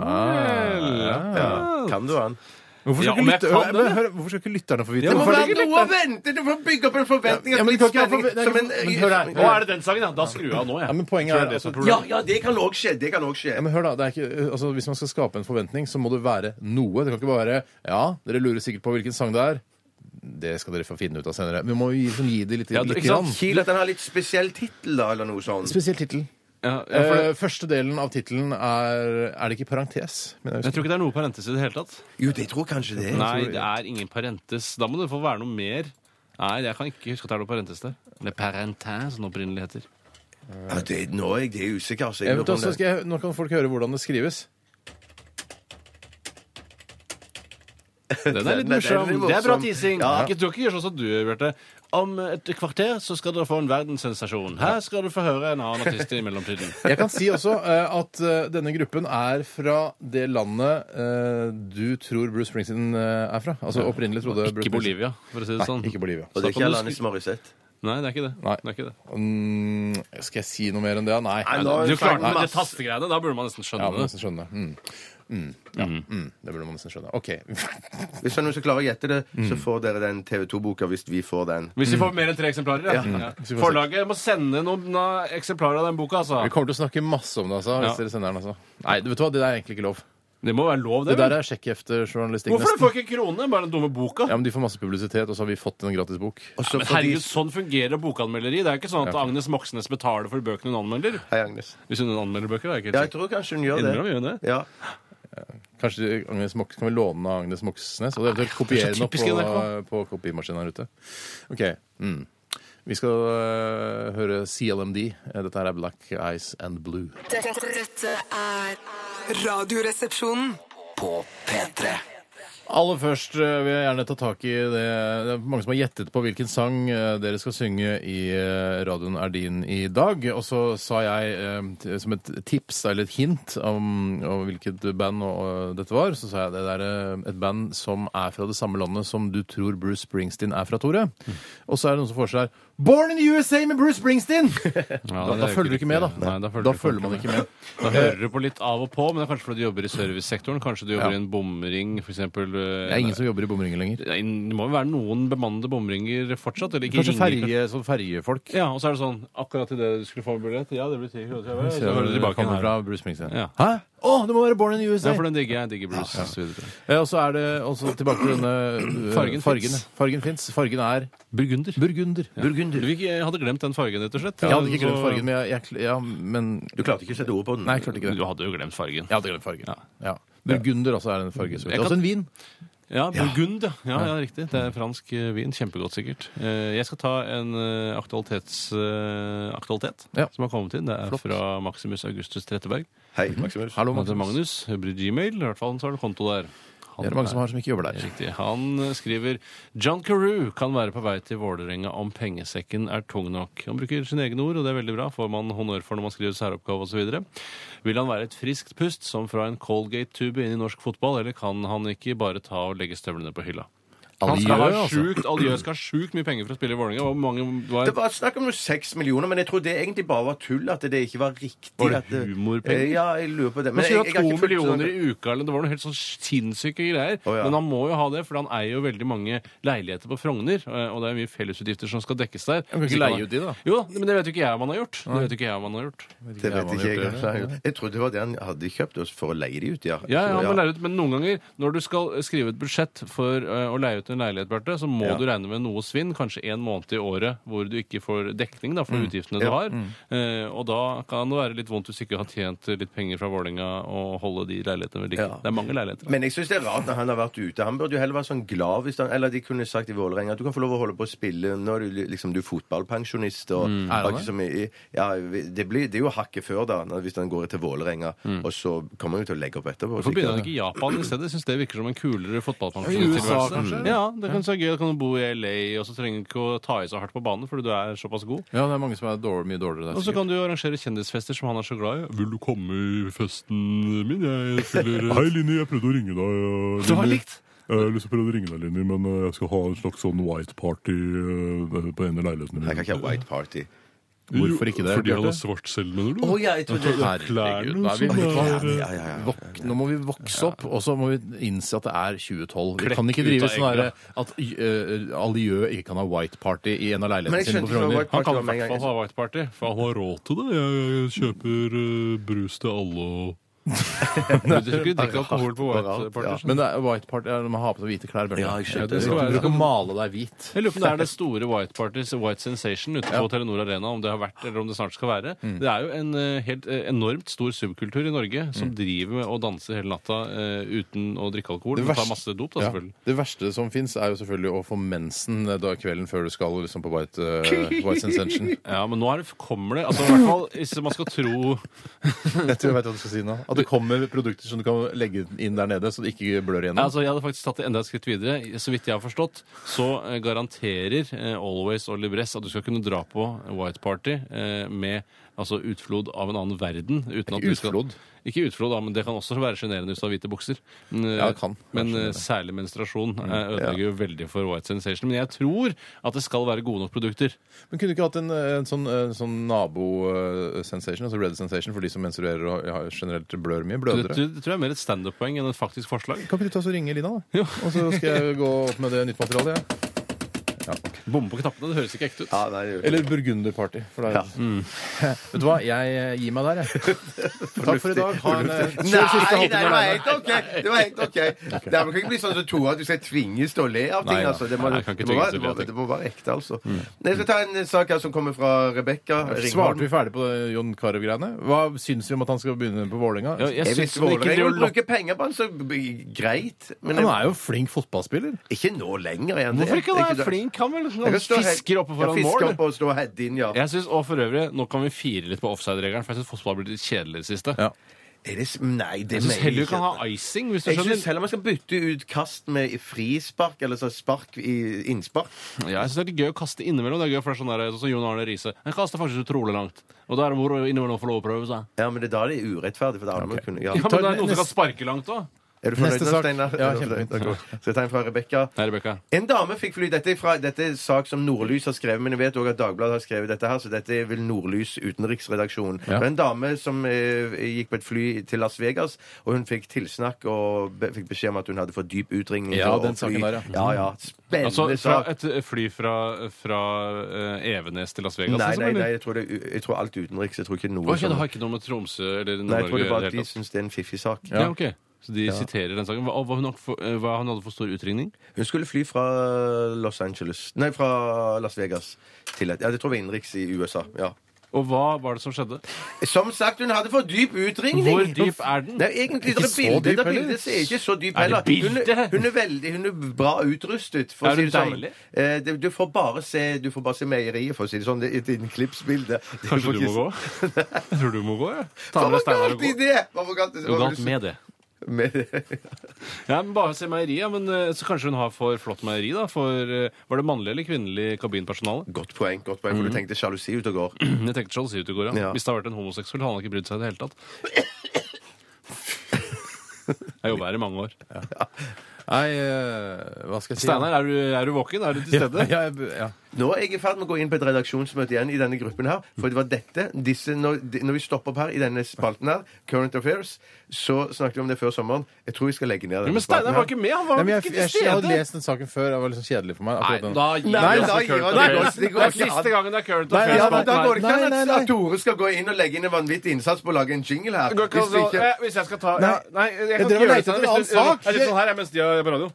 Ah, ja. ja. Kan du han? Hvorfor Ja, skal, om ikke lytter, jeg kan men det, da? hør, hvorfor skal ikke lytterne få vite Ja, men Hvorfor er det? ikke noe å vente! Du får bygge opp en forventning. Ja, men du kan ikke ha forve- Nei, Som en- men hør her. Å, er det den sangen, ja? Da skrur jeg av nå, jeg. Ja, men poenget Så er det at- som Ja, problemet. ja, det kan òg skje. Det kan også skje. Ja, men hør da, det er ikke, altså, Hvis man skal skape en forventning, så må det være noe. Det kan ikke bare være Ja, dere lurer sikkert på hvilken sang det er. Det skal dere få finne ut av senere. Men vi må jo gi, liksom, gi det litt, Ja, det- litt ikke sant? grann. Kiel at den har litt spesiell tittel, da, eller noe sånt. Spesiell tittel. Ja, ja, for Eh, første delen av tittelen er Er det ikke parentes? Men jeg husker- det- jeg tror ikke det er noe parentes i det hele tatt. Jo, det tror jeg kanskje det. Nei, det er ingen parentes. Da må det få være noe mer. Nei, jeg kan ikke huske at det er noe parentes der. Eller parentes, som det opprinnelig heter. Ja, det nå er jeg det er usikker. Altså. Jeg Jeg vet lurer på om også, det- skal jeg, nå kan folk høre hvordan det skrives. Den er litt Den er- den er morsom. litt Det er bra morsom. teasing. Ja. Ikke, du kan ikke gjøre sånn som du, Bjarte. Om et kvarter så skal dere få en verdenssensasjon. Her skal du få høre en annen artist i mellomtiden. Jeg kan si også eh, at eh, denne gruppen er fra det landet eh, du tror Bruce Springsteen eh, er fra. Altså opprinnelig trodde Bruce Ikke Springsteen- Bolivia, for å si det sånn. Nei, ikke Bolivia. Og det er ikke Alanis Morissette. Nei, det er ikke det. Nei. det, er ikke det. Mm, skal jeg si noe mer enn det? Nei. Nei, nå- Du klarte Nei. ikke det tastegreiene. Da burde man nesten Ja, skjønne man må det. nesten skjønne. Mm. Mm. Ja. Mm. Det burde man nesten skjønne. OK. Hvis det er noen som klarer å gjette det, så får dere den TV2-boka hvis vi får den. Hvis vi får mer enn tre eksemplarer, ja. ja. vi får se. Forlaget må sende noen uh, eksemplarer av den boka, altså. Vi kommer til å snakke masse om det, altså. Ja. Hvis dere sender den, altså. Nei, vet du hva, det der er egentlig ikke lov. Det må være lov, Det det. der vel? er sjekkheftejournalistikk, Hvorfor det? nesten. får ikke en krone? Bare den dumme boka. Ja, men De får masse publisitet, og så har vi fått en gratis bok. Også Men fordi- herregud, sånn fungerer bokanmelderi. Det er jo ikke sånn at Agnes Moxnes betaler for bøkene hun anmelder. Hei, Agnes. Hvis hun anmelder bøker, er jeg ikke Ja, helt jeg sikker. tror kanskje hun gjør Innimellom det. gjør hun det. Ja. Kanskje Agnes Mox, Kan vi låne av Agnes Moxnes? Og eventuelt kopiere det er så den opp typisk på, NRK. på kopimaskinen her ute. OK. Mm. Vi skal øh, høre CLMD. Eh, Dette her er Black Eyes and Blue. Dette, dette er Radioresepsjonen. På P3 Aller først eh, vil jeg gjerne ta tak i det Det er mange som har gjettet på hvilken sang eh, dere skal synge i eh, Radioen er din i dag. Og så sa jeg eh, t- som et tips eller et hint om, om hvilket band og, og dette var, så sa jeg det er et band som er fra det samme landet som du tror Bruce Springsteen er fra, Tore. Og så er det noen som foreslår Born in the USA med Bruce Springsteen! Ja, da, det er da jo følger du ikke ikke med, da. riktig. Nei, da følger man du ikke med. ikke med. Da hører du på litt av og på, men det er kanskje fordi du jobber i servicesektoren. Kanskje du jobber Ja. i en bomring, for eksempel. eh, Det er ingen som jobber i bomringen lenger. Det må jo være noen bemannede bomringer fortsatt. Eller ikke Kanskje ringer. ferge, sånn fergefolk. Ja, og så er det sånn Akkurat idet du skulle få en billett Ja, det blir 10 kroner. Så hører du tilbake Kommer igjen her. fra Bruce Springsteen. Ja. Hæ? Å, det må være Born in the USA! Ja, for den digger jeg. Jeg Digger Bruce. og så videre. Eh, Og så er det også tilbake til denne øh, Fargen fargen. finnes. Fargen fins. Fargen er Burgunder. burgunder. burgunder. Vi ikke- hadde glemt den fargen, rett og slett. Jeg hadde ikke Så- glemt fargen, men jeg, jeg, kl- ja, men Du klarte ikke å sette ord på den. Nei, jeg klarte ikke det. Du hadde jo glemt fargen. Jeg hadde glemt fargen. Ja. Burgunder altså er en farge. som- Jeg Det er kan- også en vin. Ja, Burgund, ja. ja. Ja, riktig. Det er fransk eh, vin. Kjempegodt, sikkert. Eh, Jeg skal ta en eh, aktualitets, eh, aktualitet Ja. som har kommet inn. Det er fra Maximus Augustus Tretteberg. Hei, Maximus. Hallo, Han heter Magnus. Magnus. Bryr Gmail. I hvert fall så har han konto der. Han Det er det mange som har som ikke jobber der. Riktig. Han eh, skriver John Carew kan være på vei til Vålerenga om pengesekken er tung nok. Han bruker sine egne ord, og det er veldig bra. Får man honnør for når man skriver særoppgave osv. Vil han være et friskt pust, som fra en Colgate-tube inn i norsk fotball, eller kan han ikke bare ta og legge støvlene på hylla? Han skal Aljø, ha altså. sjukt, Aljø skal ha sjukt mye penger for å spille i Vålerenga. Hvor mange var Det var snakk om noe seks millioner, men jeg tror det egentlig bare var tull. At det ikke var riktig. Var det at det- humorpenger? Eh, Ja, jeg lurer på det. Men jeg, skulle jeg har ha to ikke fulgt millioner sånn- i uka, eller det var noe helt sånn sinnssyke greier. Å, ja. Men han må jo ha det, for han eier jo veldig mange leiligheter på Frogner, eh, og det er mye fellesutgifter som skal dekkes der. kan ikke Så leie ut de, da? Jo, men det vet jo ikke jeg om han har gjort. Det vet jo ikke jeg om han har gjort. Det vet Ja, man ikke jeg. gjør det. altså. Jeg trodde det var det han hadde kjøpt oss for å leie de ut. Ja, Ja, ja, han må Ja. leie ut, men noen ganger når du skal skrive et budsjett for eh, å leie ut en leilighet, Bjarte, så må du regne med noe svinn, kanskje en måned i året hvor du ikke får dekning da, for utgiftene Mm. du Ja. har. Eh, og da kan det være litt vondt hvis du ikke har tjent litt penger fra Vålerenga og holde de leilighetene ved like. Ja. Det er mange leiligheter. altså. da. Men jeg syns det er rart når han har vært ute. Han burde jo heller være sånn glad hvis han Eller de kunne sagt i Vålerenga at du kan få lov å holde på å spille når du liksom du er fotballpensjonist og Er han har ikke det? så mye Ja, det, blir, det er jo hakket før, da, når- hvis han går til Vålerenga, Mm. og så kommer han jo til å legge opp etterpå. Hvorfor sikkert. begynner han ikke i Japan i stedet? Jeg synes det virker som en I kulere USA, fotballpensjonisttilværelse. kanskje? Ja, det kan være gøy. Da kan du bo i LA, og så trenger du ikke å ta i så hardt på banen fordi du er såpass god. Ja, det er mange som er dårlig, mye dårligere der. Og så sikkert. kan du arrangere kjendisfester som han er så glad i. Vil du komme i festen min? Jeg fyller Hei, Linni. Jeg prøvde å ringe deg. eh, Du har Linni. likt. Jeg har lyst til å prøve å ringe deg, Linni, men eh, jeg skal ha en slags sånn white party eh, på en av Jeg leilighetene kan mine. ikke ha white party. Hvorfor ikke det, Fordi han Bjarte? har svart selv, mener du? Å ja, jeg trodde Herregud, nå, er vi, som er- Ja, ja, ja. våk, nå må vi vokse opp, og så må vi innse at det er 2012. Vi Klekk kan ikke ut drive av sånn egga. herre at uh, Aljø ikke kan ha white party i en av Men jeg leilighetene sine på skjønte ikke hva Frogner. white party Han kan var i med hvert en fall gang. ha White Party. For Han har råd til det. Jeg, jeg kjøper eh, brus til alle og han burde ikke drikke alkohol på White Rart, Party. ja. Men Men det er white party er når man har på seg hvite klær. Bjørte. Ja, jeg skjønner du det. skal, du sånn- skal male deg hvit. jeg lurer på om det er det store White Parties, White Sensation, ute på Telenor Arena, om det har vært, eller om det snart skal være. Mm. Det er jo en eh, helt eh, enormt stor subkultur i Norge som Mm. driver med å danse hele natta eh, uten å drikke alkohol. Det Men verste- tar masse dop, da, Ja. selvfølgelig. Det verste som fins, er jo selvfølgelig å få mensen da kvelden før du skal liksom, på White, uh, white Sensation. Ja, men nå er det, kommer det altså i hvert fall, Hvis man skal tro Jeg tror jeg vet hva du skal si nå. At det kommer produkter som du kan legge inn der nede, så det ikke blør Ja, igjennom. altså, jeg hadde faktisk tatt det enda et skritt videre. Så vidt jeg har forstått, så eh, garanterer eh, Always og Libress at du skal kunne dra på White Party eh, med altså, utflod av en annen verden. Uten at du skal- Utflod? Ikke utflod, da, men det kan også være sjenerende hvis du har hvite bukser. Men, eh, Ja, det kan være men eh, sjenerende. Mm, særlig menstruasjon eh, ødelegger jo veldig for White Sensation. Men jeg tror at det skal være gode nok produkter. Men kunne du ikke hatt en, en sånn, en sånn nabo-sensation, altså red sensation, for de som menstruerer og har- generelt blør mye? Det, Blødere? det, det tror jeg er mer et standup-poeng enn et faktisk forslag. Kan ikke du ta oss og ringe Lina, da? Jo. Og så skal jeg gå opp med det nytt materialet. Ja. Bomme på knappene, det høres ikke ekte ut. Ja, nei, det er jo- Eller burgunderparty. For det er- Mm. Vet du hva, jeg eh, gir meg der, jeg. Takk for i dag. Ha en eh, Nei, kjør siste nei, halvtime det var alene. helt OK! Det var helt ok. Det er- man kan ikke bli sånn som Tore at du skal tvinges til å le av ting. Nei, altså. det, må, nei, jeg kan ikke det, må tvinges være, det, til å le må, av ting. Mm. det må være ekte, altså. Jeg skal ta en eh, sak her som kommer fra Rebekka Svarte vi Ringholm. ferdig på det Jon Carew-greiene? Hva syns vi om at han skal begynne på Vålerenga? Ja, jeg Jeg Hvis synes den ikke blir Vålerenga å lokke- bruker penger på han, så b- greit. Men Han jeg, er jo flink fotballspiller. ikke nå lenger. igjen. Hvorfor ikke? Han da? er flink, han vel? Jeg Han kan stå helt- fisker oppe foran ja, mål. Fisker opp og stå og heade inn, ja. Jeg synes, og for øvrig, Nå kan vi fire litt på offside-regelen, for jeg syns fotball har blitt litt kjedelig i det siste. Ja. Er det, s- nei, det Jeg syns mener heller du ikke. kan ha icing, hvis du Jeg syns skjønner. heller man skal bytte ut kast med frispark, eller så spark i innspark. Ja, jeg syns det er litt gøy å kaste innimellom. Det er gøy for det er sånn der, sånn som Jon Arne Riise. Han kaster faktisk utrolig langt. Og da er det moro innimellom å få lov å prøve seg. Ja, men det er da det er urettferdig, for da hadde man kunnet ja. Ja, men det er noen som kan sparke langt òg. Er du fornøyd Neste nå, sak. Steinar? Ja, Er du fornøyd? kjempefint. Ok. Skal jeg ta en fra Rebekka? Nei, Rebekka. En dame fikk fly. Dette er, fra, dette er sak som Nordlys har skrevet, men jeg vet også at Dagbladet har skrevet dette her, så dette er vel Nordlys utenriksredaksjon. Ja. Det var en dame som eh, gikk på et fly til Las Vegas, og hun fikk tilsnakk og be, fikk beskjed om at hun hadde for dyp utringning. Ja, og- den og saken fly. der, ja. ja. ja. Spennende Altså fra sak. et fly fra, fra eh, Evenes til Las altså, Vegas? Nei, liksom, nei, eller? nei, jeg tror, det, er u- jeg tror alt er utenriks. Jeg tror ikke noe Ok, som- Det har ikke noe med Tromsø eller Nei, jeg tror Nord-Norge det å bare at gjøre. de syns det er en fiffig sak. Ja, ok. Så de siterer den saken. Hva, og hva, hun, har for, eh, hva han hadde for stor utringning? Hun skulle fly fra Los Angeles Nei, fra Las Vegas til et Ja, det tror jeg var innenriks i USA. Ja. Og hva var det som skjedde? Som sagt, hun hadde for dyp utringning! Hvor dyp er den? Nei, egentlig, Ikke det er så dyp, bildet, det er heller. bildet ser ikke så dyp Er det heller. Hun, bildet? hun er veldig hun er bra utrustet. For Er å si hun det sånn. deilig? Eh, det- Du får bare se, du får bare se meieriet, for å si det sånn. Det er et innklippsbilde. Det er Kanskje du må faktisk- gå? Jeg tror du må gå, ja. Ta med deg Hvorfor Steinar og galt i gå. det?! Hvorfor galt i Det er noe galt med det. Med- Ja, men Bare se meieriet. Men eh, så kanskje hun har for flott meieri, da. For eh, Var det mannlig eller kvinnelig kabinpersonale? Godt poeng, godt poeng, for Mm. du tenkte sjalusi ut og går. Jeg tenkte Charles ut i går, ja. Ja. Hvis det hadde vært en homoseksuell, hadde han ikke brydd seg i det hele tatt. Jeg jobber her i mange år. Nei, eh, hva skal jeg si? Steinar, er, du- er du våken? Er du til stede? Ja, jeg- ja. Nå er jeg i ferd med å gå inn på et redaksjonsmøte igjen i denne gruppen her. For det var dette disse, når, de- når vi stopper opp her i denne spalten her, Current Affairs, så snakket vi om det før sommeren. Jeg tror vi skal legge ned Ja, denne Men spalten Steinar var her. ikke med! Han Nei, var men jeg, ikke jeg, til jeg hadde stede! lest den saken før. Det var liksom kjedelig for meg. Nei, akkurat den. da gir Nei, vi oss da til gir Current han- Nei, Affairs. det går Det er ikke an. siste gangen det er Nei, Current Affairs. Ja, men Da går det ikke Nei, an nei, at- nei. at Tore skal gå inn og legge inn en vanvittig innsats på å lage en jingle her. Går ikke Hvis an vi å- ikke... eh, Hvis jeg skal ta Nei. ja, Nei, Jeg jeg kan drev ikke og gjøre lette det. etter en annen sak. Jeg sitter sånn her jeg, mens de er på radio.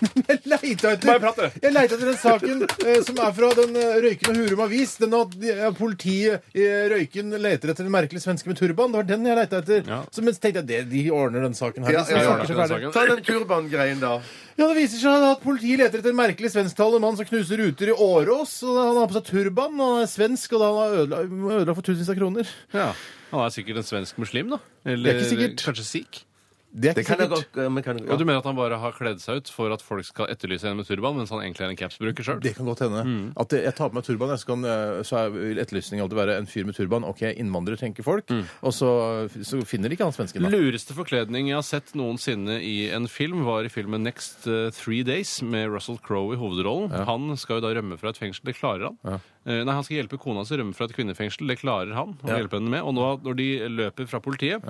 Jeg leita etter, Bare prat, du. jeg leita etter den saken eh, som er fra den eh, Røyken og Hurum avis. Den at eh, politiet i Røyken leter etter en merkelig svenske med turban. Det var den jeg leita etter. Ja. Så mens tenkte jeg det, de ordner den saken her. Ja, Ja, ja, ja, ja, ja, den saken. Ta den turban-greien, da. ja, Det viser seg at politiet leter etter en merkelig svensktalende mann som knuser ruter i Årås. Og han har på seg turban, og han er svensk, og da han har ødela- ødelagt for tusenvis av kroner. Ja. Han er sikkert en svensk muslim, da. Eller Det er ikke sikkert. kanskje sikh. Det er Det ikke kan jeg sikkert. godt eh, men kan, ja. Og du mener at han bare har kledd seg ut for at folk skal etterlyse en med turban, mens han egentlig er en capsbruker sjøl? Det kan godt hende. Mm. At jeg tar på meg turban, jeg, så, kan, eh, så er- vil etterlysningen alltid være en fyr med turban. OK, innvandrer, tenker folk. Mm. Og så, så finner de ikke han svensken, da. Lureste forkledning jeg har sett noensinne i en film, var i filmen Next eh, Three Days med Russell Crowe i hovedrollen. Han skal jo da rømme fra et fengsel. Det klarer han. Eh, Nei, Han skal hjelpe kona si å rømme fra et kvinnefengsel. Det klarer han. å hjelpe henne med. Og nå, når de løper fra politiet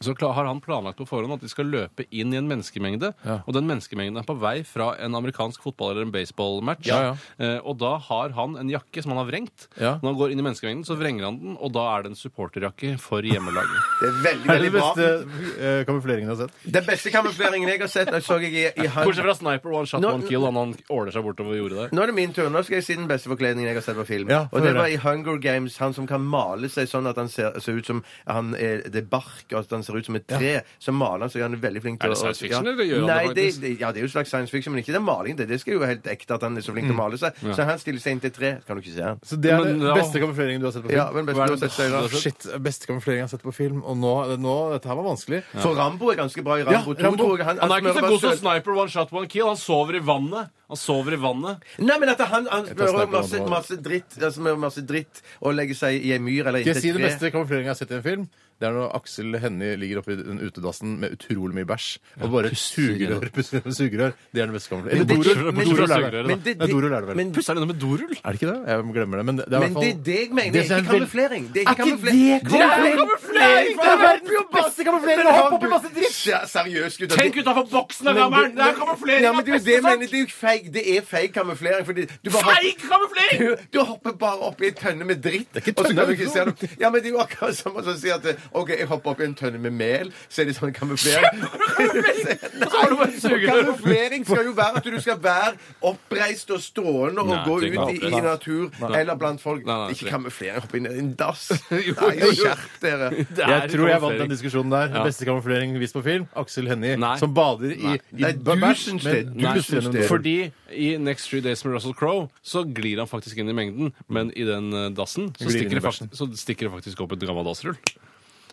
Så kla- har han planlagt på forhånd at de skal løpe inn i en menneskemengde. Ja. Og den menneskemengden er på vei fra en amerikansk fotball- eller en baseballmatch. Ja, Eh, og da har han en jakke som han har vrengt. Ja. Når han går inn i menneskemengden, så vrenger han den, og da er det en supporterjakke for hjemmelaget. Det er veldig, veldig bra. eh, kamufleringen jeg har sett. Den beste kamufleringen jeg har sett, nå så jeg i, i han... Bortsett fra Sniper One Shot Nå- One Kill, han, han åler seg bortover jordet der. Nå er det min tur. Nå skal jeg si den beste forkledningen jeg har sett på film. Ja, få og det høre. var i Hunger Games. Han som kan male seg sånn at han ser, ser ut som han er, det er bark, og at han ser ut som et tre. Så maler han seg. Han er veldig flink Er til det science fiction, eller gjør han det Nei, faktisk? Det, ja, det er jo slags science fiction, men ikke den malingen. Det, det skal jo være helt ekte at han er så Mm. flink til å male seg. Så han stiller seg inn til et tre. Kan du ikke se han? Så det er Men, den ja. beste kamufleringen du har sett på film? Ja, men best, Hva er du har det sett Steinar. beste du har Shit, beste kamufleringen jeg har sett på film. Og nå, nå Dette her var vanskelig. For Rambo er ganske bra i Rambo 2, Rambo. tror jeg. Han, Han er ikke smører så bare god som søl- Sniper One Shot One Kill. Han sover i vannet. Han sover i vannet. Nei, men at han, han smører snakker masse, om Rambo. masse dritt Han smører masse dritt og legger seg i ei myr eller Skal inntil jeg si et den tre. beste kamufleringen jeg har sett i en film? Det er når Aksel Hennie ligger oppi den utedassen med utrolig mye bæsj og bare sugerør. Pusser med sugerør. Det er den beste kamufleringen. Eller det- men- Doro- Doro men- lærer det, da. men det- Nei, Doro lærer det vel. men- Pusser han innom med dorull? Er det ikke det? Jeg glemmer det. Men det er i Men hvert fall det er det jeg mener. Det Det er som er ikke vel- kamuflering. Det er Er ikke ikke kamuflering. det kamuflering? Det er verdens beste kamuflering! Å hoppe oppi masse dritt! Ja, seriøst, gutter. Tenk utafor boksen, da, gammer'n! Det er kamuflering! Ja, men det er jo det, jeg sant? mener, det er jo feig. Det er feig kamuflering. Fordi du bare Feig kamuflering! Du, du hopper bare opp i en tønne med dritt. Det er ikke tønne, det er Ja, men det er jo akkurat som å si at OK, jeg hopper opp i en tønne med mel, så er det sånn kamuflering. Og så har du bare et Og sugerør. kamuflering skal jo være at du skal være oppreist og strålende og Nei, gå det er ut ikke i, i oppreist. natur eller blant folk. Nei, nei, ikke det- kamuflering. Hoppe inn i en dass. Jo, Nei, jo, jo. skjerp dere. Det er Jeg tror jeg vant den kamuflering. diskusjonen der. Ja. Beste kamuflering vist på film. Aksel Hennie Nei. som bader i, i Nei, bæsj. tusen men- sted, Nei, tusen tusen sted. sted. Fordi- Fordi i Next Three Days med Russell Crowe så glir han faktisk inn i mengden, men i den eh, dassen så Glir inn i stikker, det bæsjen. faktisk, så stikker det faktisk opp et gammelt dassrull.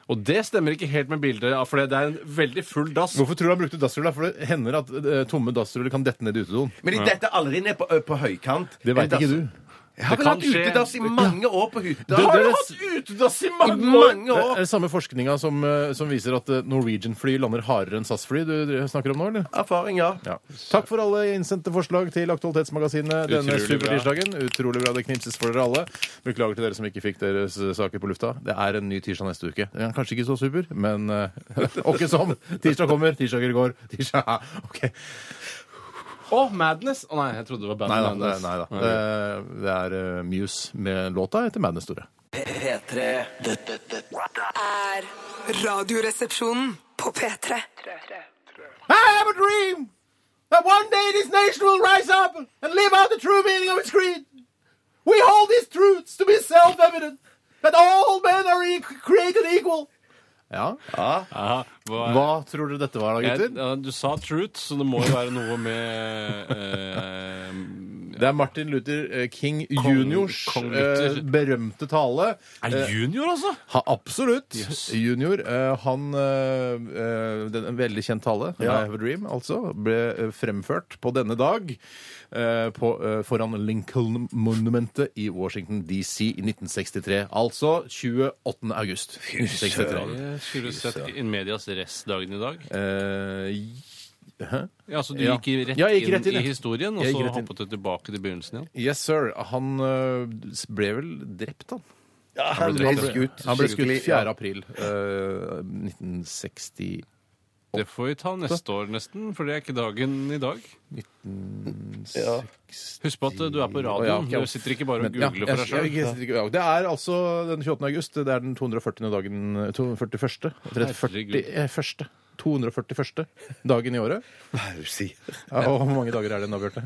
Og det stemmer ikke helt med bildet, ja, for det er en veldig full dass. Hvorfor tror du han brukte dassrull? da? For det hender at eh, tomme dassruller kan dette ned i utedoen. Men de detter aldri ned på, ø, på høykant. Det veit En dass- ikke du. Jeg har Det vel kan hatt skje. utedass i mange år på hytta. Det- Har det du er- hatt utedass i i mange Det år? er den samme forskninga som, eh, som viser at eh, Norwegian-fly lander hardere enn SAS-fly du dere snakker om nå, eller? Erfaring, ja. Ja. Takk for alle innsendte forslag til Aktualitetsmagasinet denne Utrolig bra. supertirsdagen. Utrolig bra. Det knipses for dere alle. Beklager til dere som ikke fikk deres eh, saker på lufta. Det er en ny tirsdag neste uke. Den er kanskje ikke så super, men eh, åkke som. Tirsdag kommer, tirsdager går. Tirsdag OK. Å, Madness! Å nei, jeg trodde det var Band Nei da. Det, Madness. nei, da. Det, det er eh, Muse med låta etter Madness Store. P3. Dette, dette, er Radioresepsjonen på P3. I have a dream that one day this nation will rise up and live out the true meaning of its creed. We hold these truths to be self-evident, that all men are e created equal. Ja, Aha, hva- Hva tror dere dette var, da, jeg, gutter? ja, du sa truth, så det må jo være noe med eh, Det er Martin Luther eh, King juniors Kong Luther. eh, berømte tale. Er Eh, det junior, altså? Ha, absolutt. Yes. Junior. eh, han eh, eh, den, En veldig kjent tale, I Have a Dream, altså, ble eh, fremført på denne dag eh, på, eh, foran Lincoln-monumentet i Washington DC i 1963. Altså 28. august 1963. Skulle du sett In Medias Rest-dagen i dag? Eh, Ja, så du Ja. gikk i rett, Ja, jeg gikk rett inn, inn, i ja. historien, og Jeg så gikk rett inn. hoppet du tilbake til begynnelsen igjen? yes, sir. Han eh, ble vel drept, han. Ja, han ble skutt. Han ble skutt skikkelig, 4. ja. april eh, 1960 Det får vi ta neste år, nesten, for det er ikke dagen i dag. Ja. Husk på at eh, du er på Å, ja, radioen. ok, ja. Du sitter ikke bare Men, og googler ja, for deg jeg- sjøl. jeg- jeg- ja, Det er altså den 28. august. Det er den 240. dagen 241. 341. 241. dagen i året. Hva er det du sier? Ja, og hvor mange dager er det nå, Bjarte?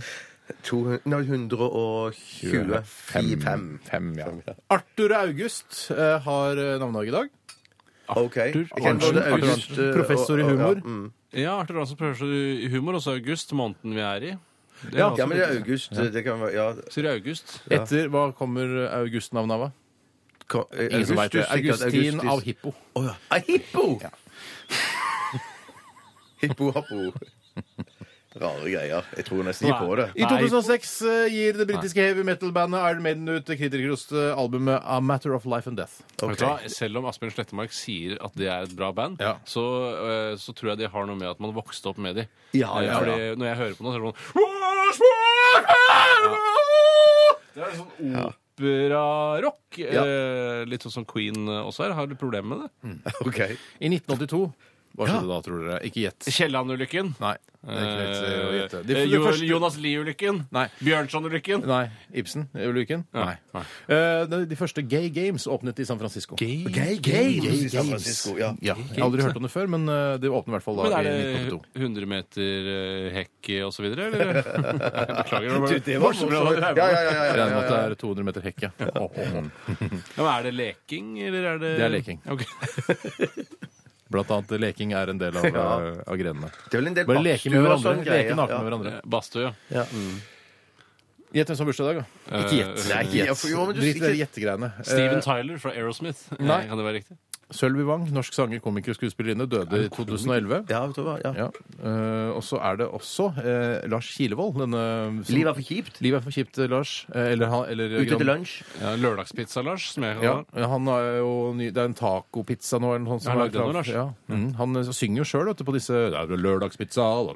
225. Fem, ja. Arthur August eh, har eh, navnedag i dag. OK. Jeg kan Arntzen, både Arthur August, Arntzen, eh, professor i og- og- humor. ja, mm. Ja, Arthur Hansen prøver seg i humor, og så august, måneden vi er i. Det er Ja, altså Ja, men det er litt- August. Det kan være Ja. Sier jeg august. Etter hva kommer August-navnet av? Ko- eh, Ingen som vet det. Augustus, sikkert Augustin Augustus. av Hippo. Å ja. Ah, Hippo! Hippo happo. Rare greier. Jeg tror nesten ikke på det. I 2006 eh, gir det britiske heavy metal-bandet Iron Maiden ut kritikerrost eh, albumet A Matter of Life and Death. Vet du hva? Selv om Asbjørn Slettemark sier at det er et bra band, Ja. så, eh, så tror jeg det har noe med at man vokste opp med de. Ja, Eh, ja, Fordi ja. når jeg hører på noe, så er det sånn Det er sånn operarock. Ja. eh, Litt sånn som Queen også er. Har du problemer med Mm. det? OK. I 1982 Hva skjedde da, tror dere? Ikke gjett. Kielland-ulykken. Nei. Det er ikke lett eh, å gjette. Eh, Det, det Jo- første- Jonas Lie-ulykken. Nei. Bjørnson-ulykken. Nei. Ibsen-ulykken? Ja. Nei. Nei. Eh, de, de første Gay Games åpnet i San Francisco. Gay, Games i San Francisco, ja. Jeg har aldri hørt om det før, men eh, det åpnet i hvert fall da Men er i det 1982. 100 meter eh, hekk og så videre, eller? Beklager. det var- Du, det var Morsomt, det var- morsomt. Ja, ja, ja, ja, ja, Jeg regner med ja, at det ja. er 200 meter hekk, ja. Åh, åh, åh. Ja, men er det leking, eller er det Det er leking. Ok. Blant annet eh, leking er en del av, eh, av grenene. Det er vel en del Bare leke med badstuer og hverandre. sånn leke greier. naken Ja. med hverandre. Badstue, ja. Gjett hvem som har bursdag i dag, da. Ikke gjett. Eh, Nei, Ikke ja, gjett. for- jo, men du- Drit i de ikke- gjettegreiene. Steven Eh, Tyler fra Aerosmith. Eh, nei. Kan det være riktig? Sølvi Wang, norsk sanger, komiker og skuespillerinne, døde i 2011. Ja, vet du hva? Ja. Ja. eh, og så er det også eh, Lars Kilevold. Denne, som- Livet er for kjipt. Livet er for kjipt, eh, Lars. Eh, eller, han- eller Ute til lunsj. Ja, lørdagspizza, Lars. Som jeg kaller Ja, eh, den. han er jo ny, Det er en tacopizza nå. Eller noe sånt, Har han er lagd den nå, klar- Lars? Ja. Mm, han eh, synger jo sjøl på disse det er jo Lørdagspizza Oh.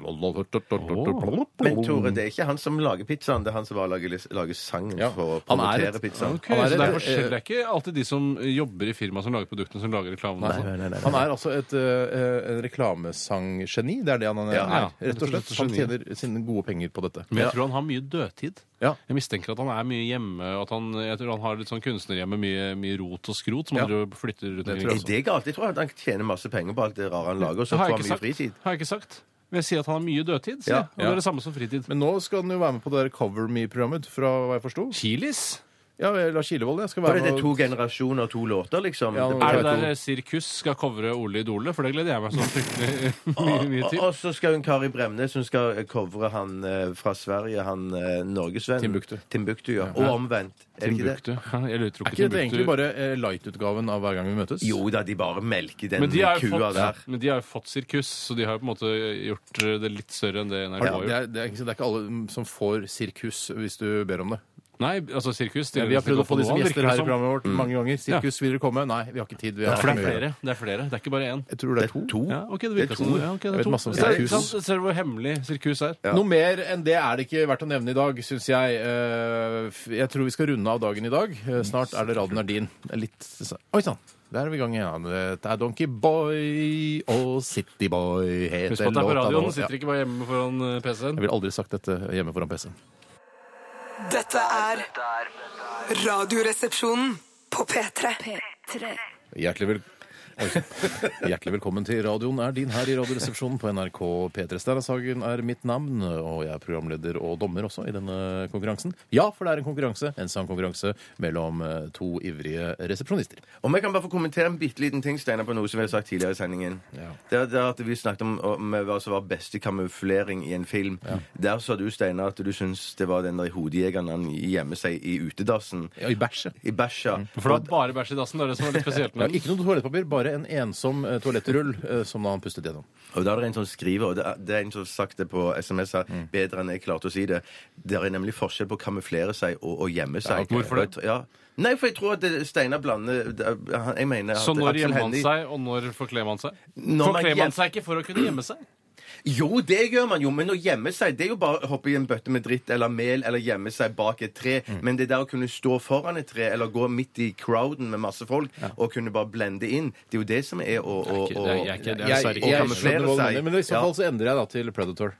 Men Tore, det er ikke han som lager pizzaen, det er han som bare lager, lager sangen Ja. for å Han er promotere et- pizzaen. Ok, Han er så det er, en- forskjell- det er ikke alltid de som jobber i firmaet som lager produktene, som lager reklamen. Nei, altså. nei, nei, nei. Han er altså et eh, en reklamesanggeni. Det er det han er, Ja, ja. rett og slett. Han tjener sine gode penger på dette. Men jeg tror han har mye dødtid. Ja. Jeg mistenker at han er mye hjemme. og At han, jeg tror han har litt sånn kunstnerhjemme, mye, mye rot og skrot, som Ja. han driver og flytter rundt Det omkring. tror Er det galt? Jeg tror at han tjener masse penger på alt det rare han lager, og så Det har får jeg han ikke mye sagt. fritid. Har jeg ikke sagt. Men jeg sier at han har mye dødtid. sier Ja, jeg. Og det ja. er det samme som fritid. Men nå skal han jo være med på det der Cover Me-programmet, fra hva jeg forsto. Chilis? Ja, Lars Kilevold, jeg skal Bare være det er med. to generasjoner og to låter, liksom. Ja, Det- nå- Er det Jeg der sirkus skal covre Ole Idole? For det gleder jeg meg så fryktelig mye, mye Og til. og så skal hun Kari Bremnes hun skal covre han eh, fra Sverige, han eh, norgesvenn. Timbuktu. Timbuktu, ja. Og omvendt. Er det ikke det? Timbuktu. Jeg lurer tror Er ikke ikke dette egentlig Timbuktu bare eh, light-utgaven av Hver gang vi møtes? Jo da, de bare melker den men de, har jo kua der. fått, men de har jo fått sirkus, så de har jo på en måte gjort eh, det litt større enn det NRK Ja, har det, gjort. er, det, er, ikke- det er ikke alle mm, som får sirkus hvis du ber om det. Nei, altså sirkus Ja, vi har prøvd å få de som gjester her i programmet vårt mange ganger. Mm. Ja. Sirkus, vil dere komme? Nei, vi har ikke tid. Vi har For det ikke mye er å flere. gjøre. Det er flere, det er ikke bare én. Jeg tror det er to. Ja, ok, det virker Det er som to. ja, ok, Jeg det er vet to. masse om Så er det sirkus. ikke sant? Ser du hvor hemmelig sirkus er? Noe mer enn det er det ikke verdt å nevne i dag, syns jeg. Eh, f- Jeg tror vi skal runde av dagen i dag. Eh, Mm. Snart er det radioen er din. Det er Litt Oi sann! Der er vi i gang igjen. Det er Donkey Boy og City Boy heter Husk på at det er på låta nå. radioen, Ja. sitter ikke bare hjemme foran eh, PC-en. Jeg ville aldri sagt dette hjemme foran PC-en. Dette er Radioresepsjonen på P3. Hjertelig, vel... Oi, sann. Hjertelig velkommen til radioen er din her i Radioresepsjonen på NRK P3. Steinar Sagen er mitt navn, og jeg er programleder og dommer også i denne konkurransen. Ja, for det er en konkurranse, en sangkonkurranse mellom eh, to ivrige resepsjonister. Om jeg kan bare få kommentere en bitte liten ting, Steinar, på noe som vi har sagt tidligere i sendingen. Det er det er at Vi snakket om, om hva som var beste kamuflering i en film. Der sa du, Steinar, at du syns det var den der hodejegeren han gjemmer seg i utedassen. Ja, I bæsjet. I bæsja. For det var bare bæsj i dassen. Det er det som er litt spesielt Ja, med den. ikke noe toalettpapir, bare en ensom eh, toalettrull eh, som da han pustet gjennom. Og da er det en som skriver, og det er, det er en som har sagt det på SMS her, Mm. bedre enn jeg klarte å si det. Det er nemlig forskjell på å kamuflere seg og å gjemme seg. ok. Hvorfor det? Og jeg tr- Ja. Nei, for jeg tror at det- Steinar blander det er- han- Jeg mener at Så når Aksel gjemmer man Hennie- seg, og når forkler man seg? Når man Forkler gjem- man seg ikke for å kunne gjemme seg? Jo, det gjør man jo, men å gjemme seg Det er jo bare å hoppe i en bøtte med dritt eller mel eller gjemme seg bak et tre. Mm. Men det der å kunne stå foran et tre eller gå midt i crowden med masse folk og kunne bare blende inn, det er jo det som er å, å, Det å er- jeg er ikke- det er å dessverre ikke- jeg kamuflere skjønner hva du seg. mener, men i så Ja. fall så endrer jeg da til Predator.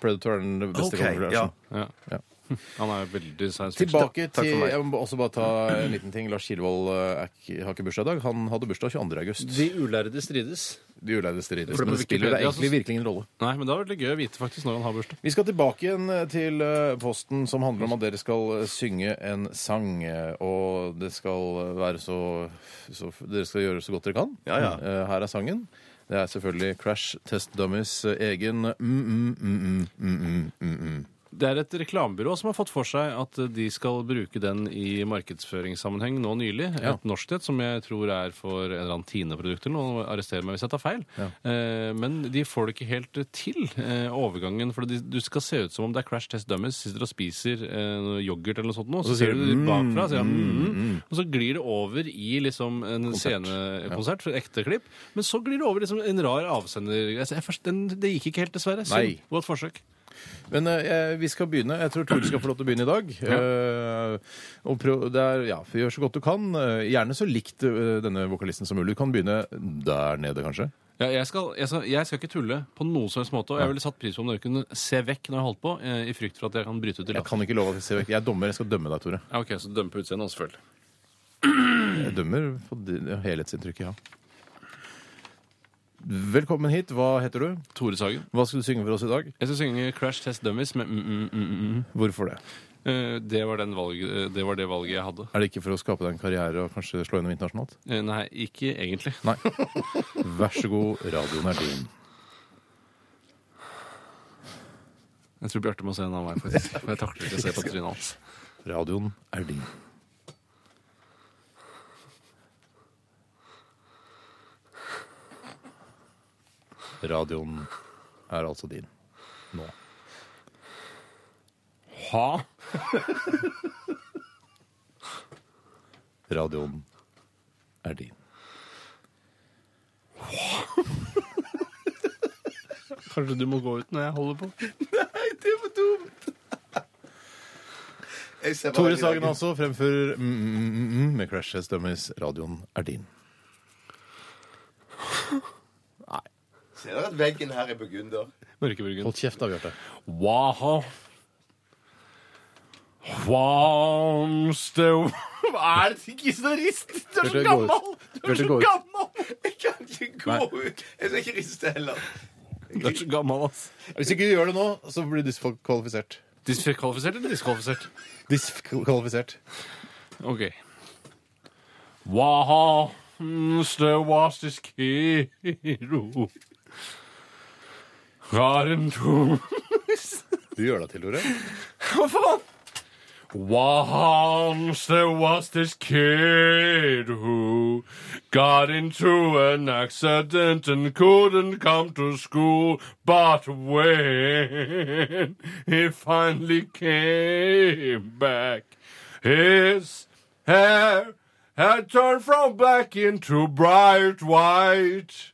Predator er den beste Ok, ja. kamuflasjen. Ja. Ja. Han er jo veldig science fiction. Tilbake Takk for til meg. Jeg må også bare ta en liten ting. Lars Kilvold eh, er ikke- har ikke bursdag i dag. Han hadde bursdag 22. august. De ulærde strides. De ulærde strides. For det Men det på spiller det Wikipedia egentlig så- virkelig ingen rolle. Nei, men det er veldig gøy å vite faktisk når han har bursdag. Vi skal tilbake igjen eh, til eh, posten som handler om at dere skal eh, synge en sang. eh, Og det skal eh, være så, så Dere skal gjøre så godt dere kan. Ja, ja. Eh, Her er sangen. Det er selvfølgelig Crash Test Dummies eh, egen mm, mm, mm, mm, mm, mm, mm, mm. Det er et reklamebyrå som har fått for seg at eh, de skal bruke den i markedsføringssammenheng nå nylig. Ja. Et norsk et som jeg tror er for en eller annen Tine-produkt eller noe. Arrester meg hvis jeg tar feil. Eh, men de får det ikke helt eh, til, eh, overgangen. For de, du skal se ut som om det er Crash Test Dummies. Sitter og spiser eh, noe yoghurt eller noe sånt, nå, så, sier ser du de, de bakfra, sier, mm, mm, og så glir det over i liksom en Konsert. scenekonsert, for ekte klipp. Men så glir det over i liksom en rar avsender. Altså, jeg, forst- den, det gikk ikke helt, dessverre. Nei. Synd. Godt forsøk. Men eh, vi skal begynne. Jeg tror Tore skal få lov til å begynne i dag. Eh, og prøv, det er, ja, Gjør så godt du kan. Eh, gjerne så likt eh, denne vokalisten som mulig. Du kan begynne der nede, kanskje. Ja, jeg, skal, jeg, skal, jeg skal ikke tulle på noen som helst måte. Og jeg ville satt pris på om dere kunne se vekk når jeg holdt på, eh, i frykt for at jeg kan bryte ut i Jeg latter. kan ikke love at jeg ser vekk. Jeg er dommer. Jeg skal dømme deg, Tore. Ja, ok, så dømme på utseendet, selvfølgelig. Jeg dømmer på din- ja, helhetsinntrykket, ja. Velkommen hit. Hva heter du? Tore Sagen. Hva skal du synge for oss i dag? Jeg skal synge Crash Test Dummies med mm, mm, mm, mm, mm. Hvorfor det? Eh, det, var den valg, eh, det var det valget jeg hadde. Er det ikke for å skape deg en karriere og kanskje slå gjennom internasjonalt? Eh, nei, ikke egentlig. Nei. Vær så god, radioen er din. Jeg tror Bjarte må se en annen vei, faktisk. For jeg takler ikke å se på trynet hans. Radioen er din. Radioen er altså din. Nå. Ha? Radioen er din. Kanskje du må gå ut når jeg holder på? Jeg ser bare Tore i Sagen dag- altså fremfører mm, mm, mm, mm, med Crash Test Dummies. Radioen er din. Ser dere at veggen her er burgunder? Mørkebryggen. Hold kjeft, da, Bjarte. Waha. Wamstøv. Hva er det ikke så rist? Du er så Bjarte, gå ut. gammel! Du er Bjarte, så gå ut. gammel! Jeg kan ikke gå ut. Jeg skal ikke riste heller. Du er så gammel, ass. Hvis ikke du gjør det nå, så blir du diskvalifisert. Diskvalifisert eller diskvalifisert? Diskvalifisert. OK. Waha. Støv was this kiro. Karen to. Du gjør deg til, Tore. Hva faen? Waha. Støv was this kiro. Got into an accident and couldn't come to school, but when he finally came back, his hair had turned from black into bright white.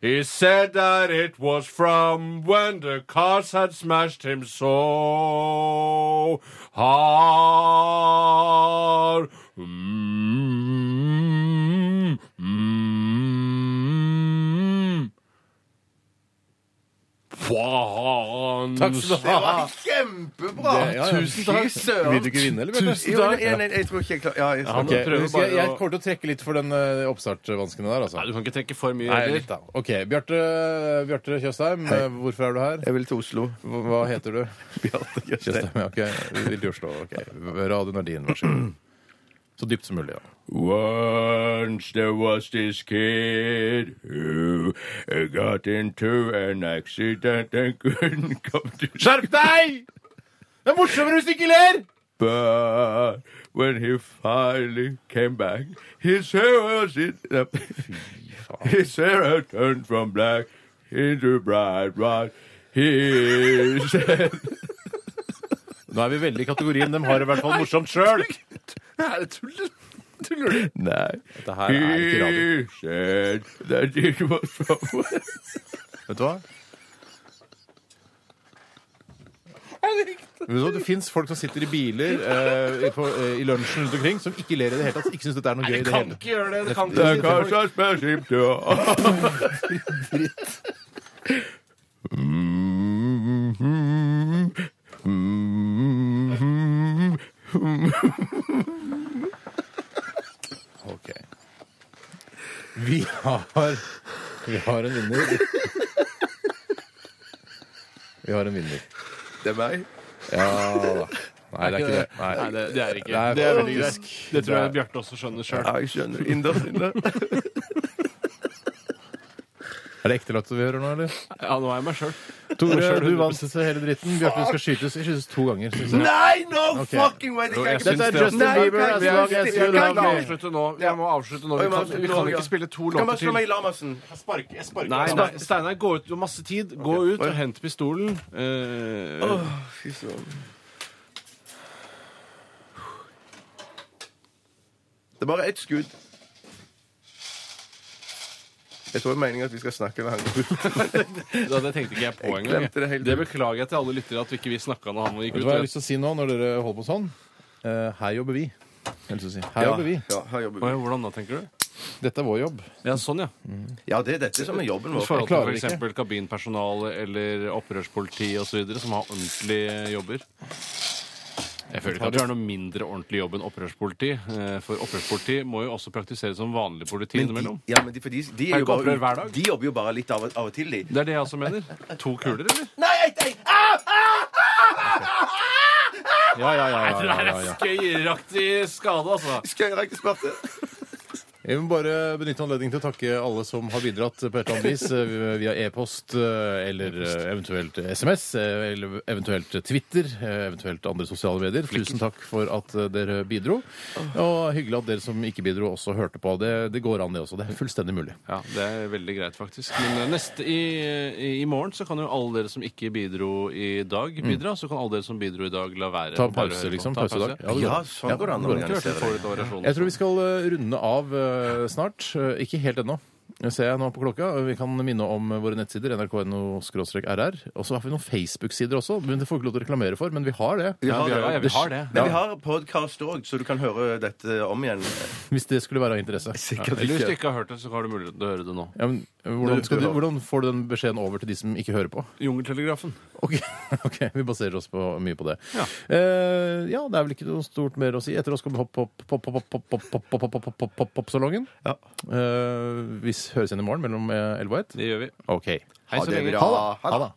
He said that it was from when the cars had smashed him so hard. Mm, mm. Faen. Det var kjempebra! Det- ja, ja. Tusen takk. Fy søren. Vil du ikke vinne, eller, Bjarte? Tusen takk. Jo, nei, nei, jeg tror ikke jeg klarer ja, jeg skal Ok, bare- prøver jeg, skal- bare jeg å- kommer til å trekke litt for den eh, oppstartvanskene der, altså. Nei, du kan ikke trekke for mye. Nei, heller. litt da. Ok, Bjarte, Bjarte Tjøstheim, eh, hvorfor er du her? Jeg vil til Oslo. Hva hva heter du? Bjarte Tjøstheim. Tjøstheim, ja, ok. Vil du slå, ok. Radio Nardin, vær så god. Så dypt som mulig, ja. Once there was this kid who uh, got into an accident and couldn't come to Skjerp deg! Det er morsommere hvis du ikke ler! But when he finally came back, his hair was in his hair had turned from black into bright white. He said Nå er vi veldig i kategorien De har det i hvert fall morsomt sjøl. Tuller du? Nei. Dette her er ikke radio. He said that it was from Vet du hva? Vet du hva, Det fins folk som sitter i biler eh, i- på, eh, i lunsjen rundt omkring som ikke ler i det hele tatt. Ikke syns dette er noe gøy. i det hele tatt. gjøre det. det kan the cars are smashing to Ok. Vi har Vi har en vinner. Vi har en vinner. Det er meg. Ja da. Nei, det er ikke det. Nei, det, det er ikke. Det er Det er veldig faktisk- greit. Det tror jeg Bjarte også skjønner sjøl. Ja, jeg skjønner. Inder, inder. Er det ektelattet vi hører nå, eller? Ja, nå er jeg meg sjøl. Tore, du vant hele dritten. Bjarte, du skal skytes, skytes to ganger. synes jeg. Nei, no Ok. fucking way! Det kan Jeg ikke- syns Dette er det. Justin Bieber, Nei, as altså. jeg- long as jeg- you jeg- Vi love må me. avslutte nå. Vi må avslutte nå. Vi kan, vi kan ikke spille to Kan bare låter slå til. meg i Lamarsen. Nei, nei, Steinar, gå ut. Du har masse tid. Gå ut og hent pistolen. Eh, Fy søren. Det er bare ett skudd. Jeg tror det er meningen at vi skal snakke med han. Ja, det tenkte ikke jeg Jeg på engang. glemte det Det, helt. det beklager jeg til alle lyttere at vi ikke vi snakka når han Vet gikk du ut. hva jeg har lyst til å si nå, når dere holder på sånn? Eh, her jobber vi. Jeg har lyst til å si. Her jobber vi. Ja, her jobber Oi, vi. Hvordan da, tenker du? Dette er vår jobb. Ja, sånn, ja. Ja, det er dette som er jobben I vår. forhold til klarer f.eks. ikke. kabinpersonale eller opprørspoliti osv., som har ordentlige jobber. Jeg føler ikke at du er noe mindre ordentlig jobb enn opprørspoliti. eh, For opprørspoliti må jo også praktiseres som vanlig politi innimellom. Ja, men de, for de, de, Er er jo det ikke opprør hver bare, dag? de jobber jo bare litt av, av og til, de. Det er det jeg også mener. To kuler, eller? Nei, ei, ei! Ah, ah, Ja, ja, ja. ja, ja, ja, ja. skøyeraktig skade, altså. Skal jeg rekke smerte? Jeg vil bare benytte anledningen til å takke alle som har bidratt på et eller annet vis eh, via e-post eh, eller eh, eventuelt SMS, eh, eller eventuelt Twitter, eh, eventuelt andre sosiale medier. Tusen takk for at eh, dere bidro. Og hyggelig at dere som ikke bidro, også hørte på. Det, det går an, det også. Det er fullstendig mulig. Ja, Det er veldig greit, faktisk. Men eh, neste i, i, i morgen så kan jo alle dere som ikke bidro i dag, bidra. Så kan alle dere som bidro i dag, la være. Mm. Ta og bare høre pause, på. liksom. Ta Pausedag. det går Ja, an. sånn går det an å Du hørte organisere det. forut av variasjonen. Jeg tror vi skal eh, runde av eh, snart. Eh, Ikke helt ennå. Det ser jeg nå på klokka. Vi kan minne om våre nettsider. nrk.no-rr. Og så har vi noen Facebook-sider også. Men Det får vi ikke lov til å reklamere for, men vi har det. Vi har Ja, det. ja, vi har det. Men vi har podkast òg, så du kan høre dette om igjen. Hvis det skulle være av interesse. Sikkert Eller hvis du ikke har hørt det, så har du mulighet til å høre det nå. Ja, men, hvordan, Det skal skal du, vi ha. hvordan får du den beskjeden over til de som ikke hører på? Jungeltelegrafen. Ok, ok, Vi baserer oss på, mye på det. Ja. Eh, ja, det er vel ikke noe stort mer å si. Etter oss kommer pop-pop-pop-pop-pop-pop-pop-pop-pop-salongen. Ja. Vi Eh, høres igjen i morgen mellom 11 og 1. Det gjør vi. OK. Hei Ha så det lenge. bra. Ha det.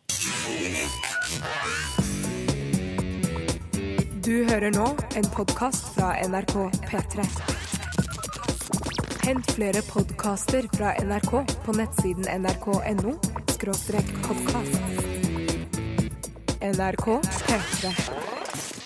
Du hører nå en podkast fra NRK P3. Hent flere podkaster fra NRK på nettsiden nrk.no podkast. NRK P3.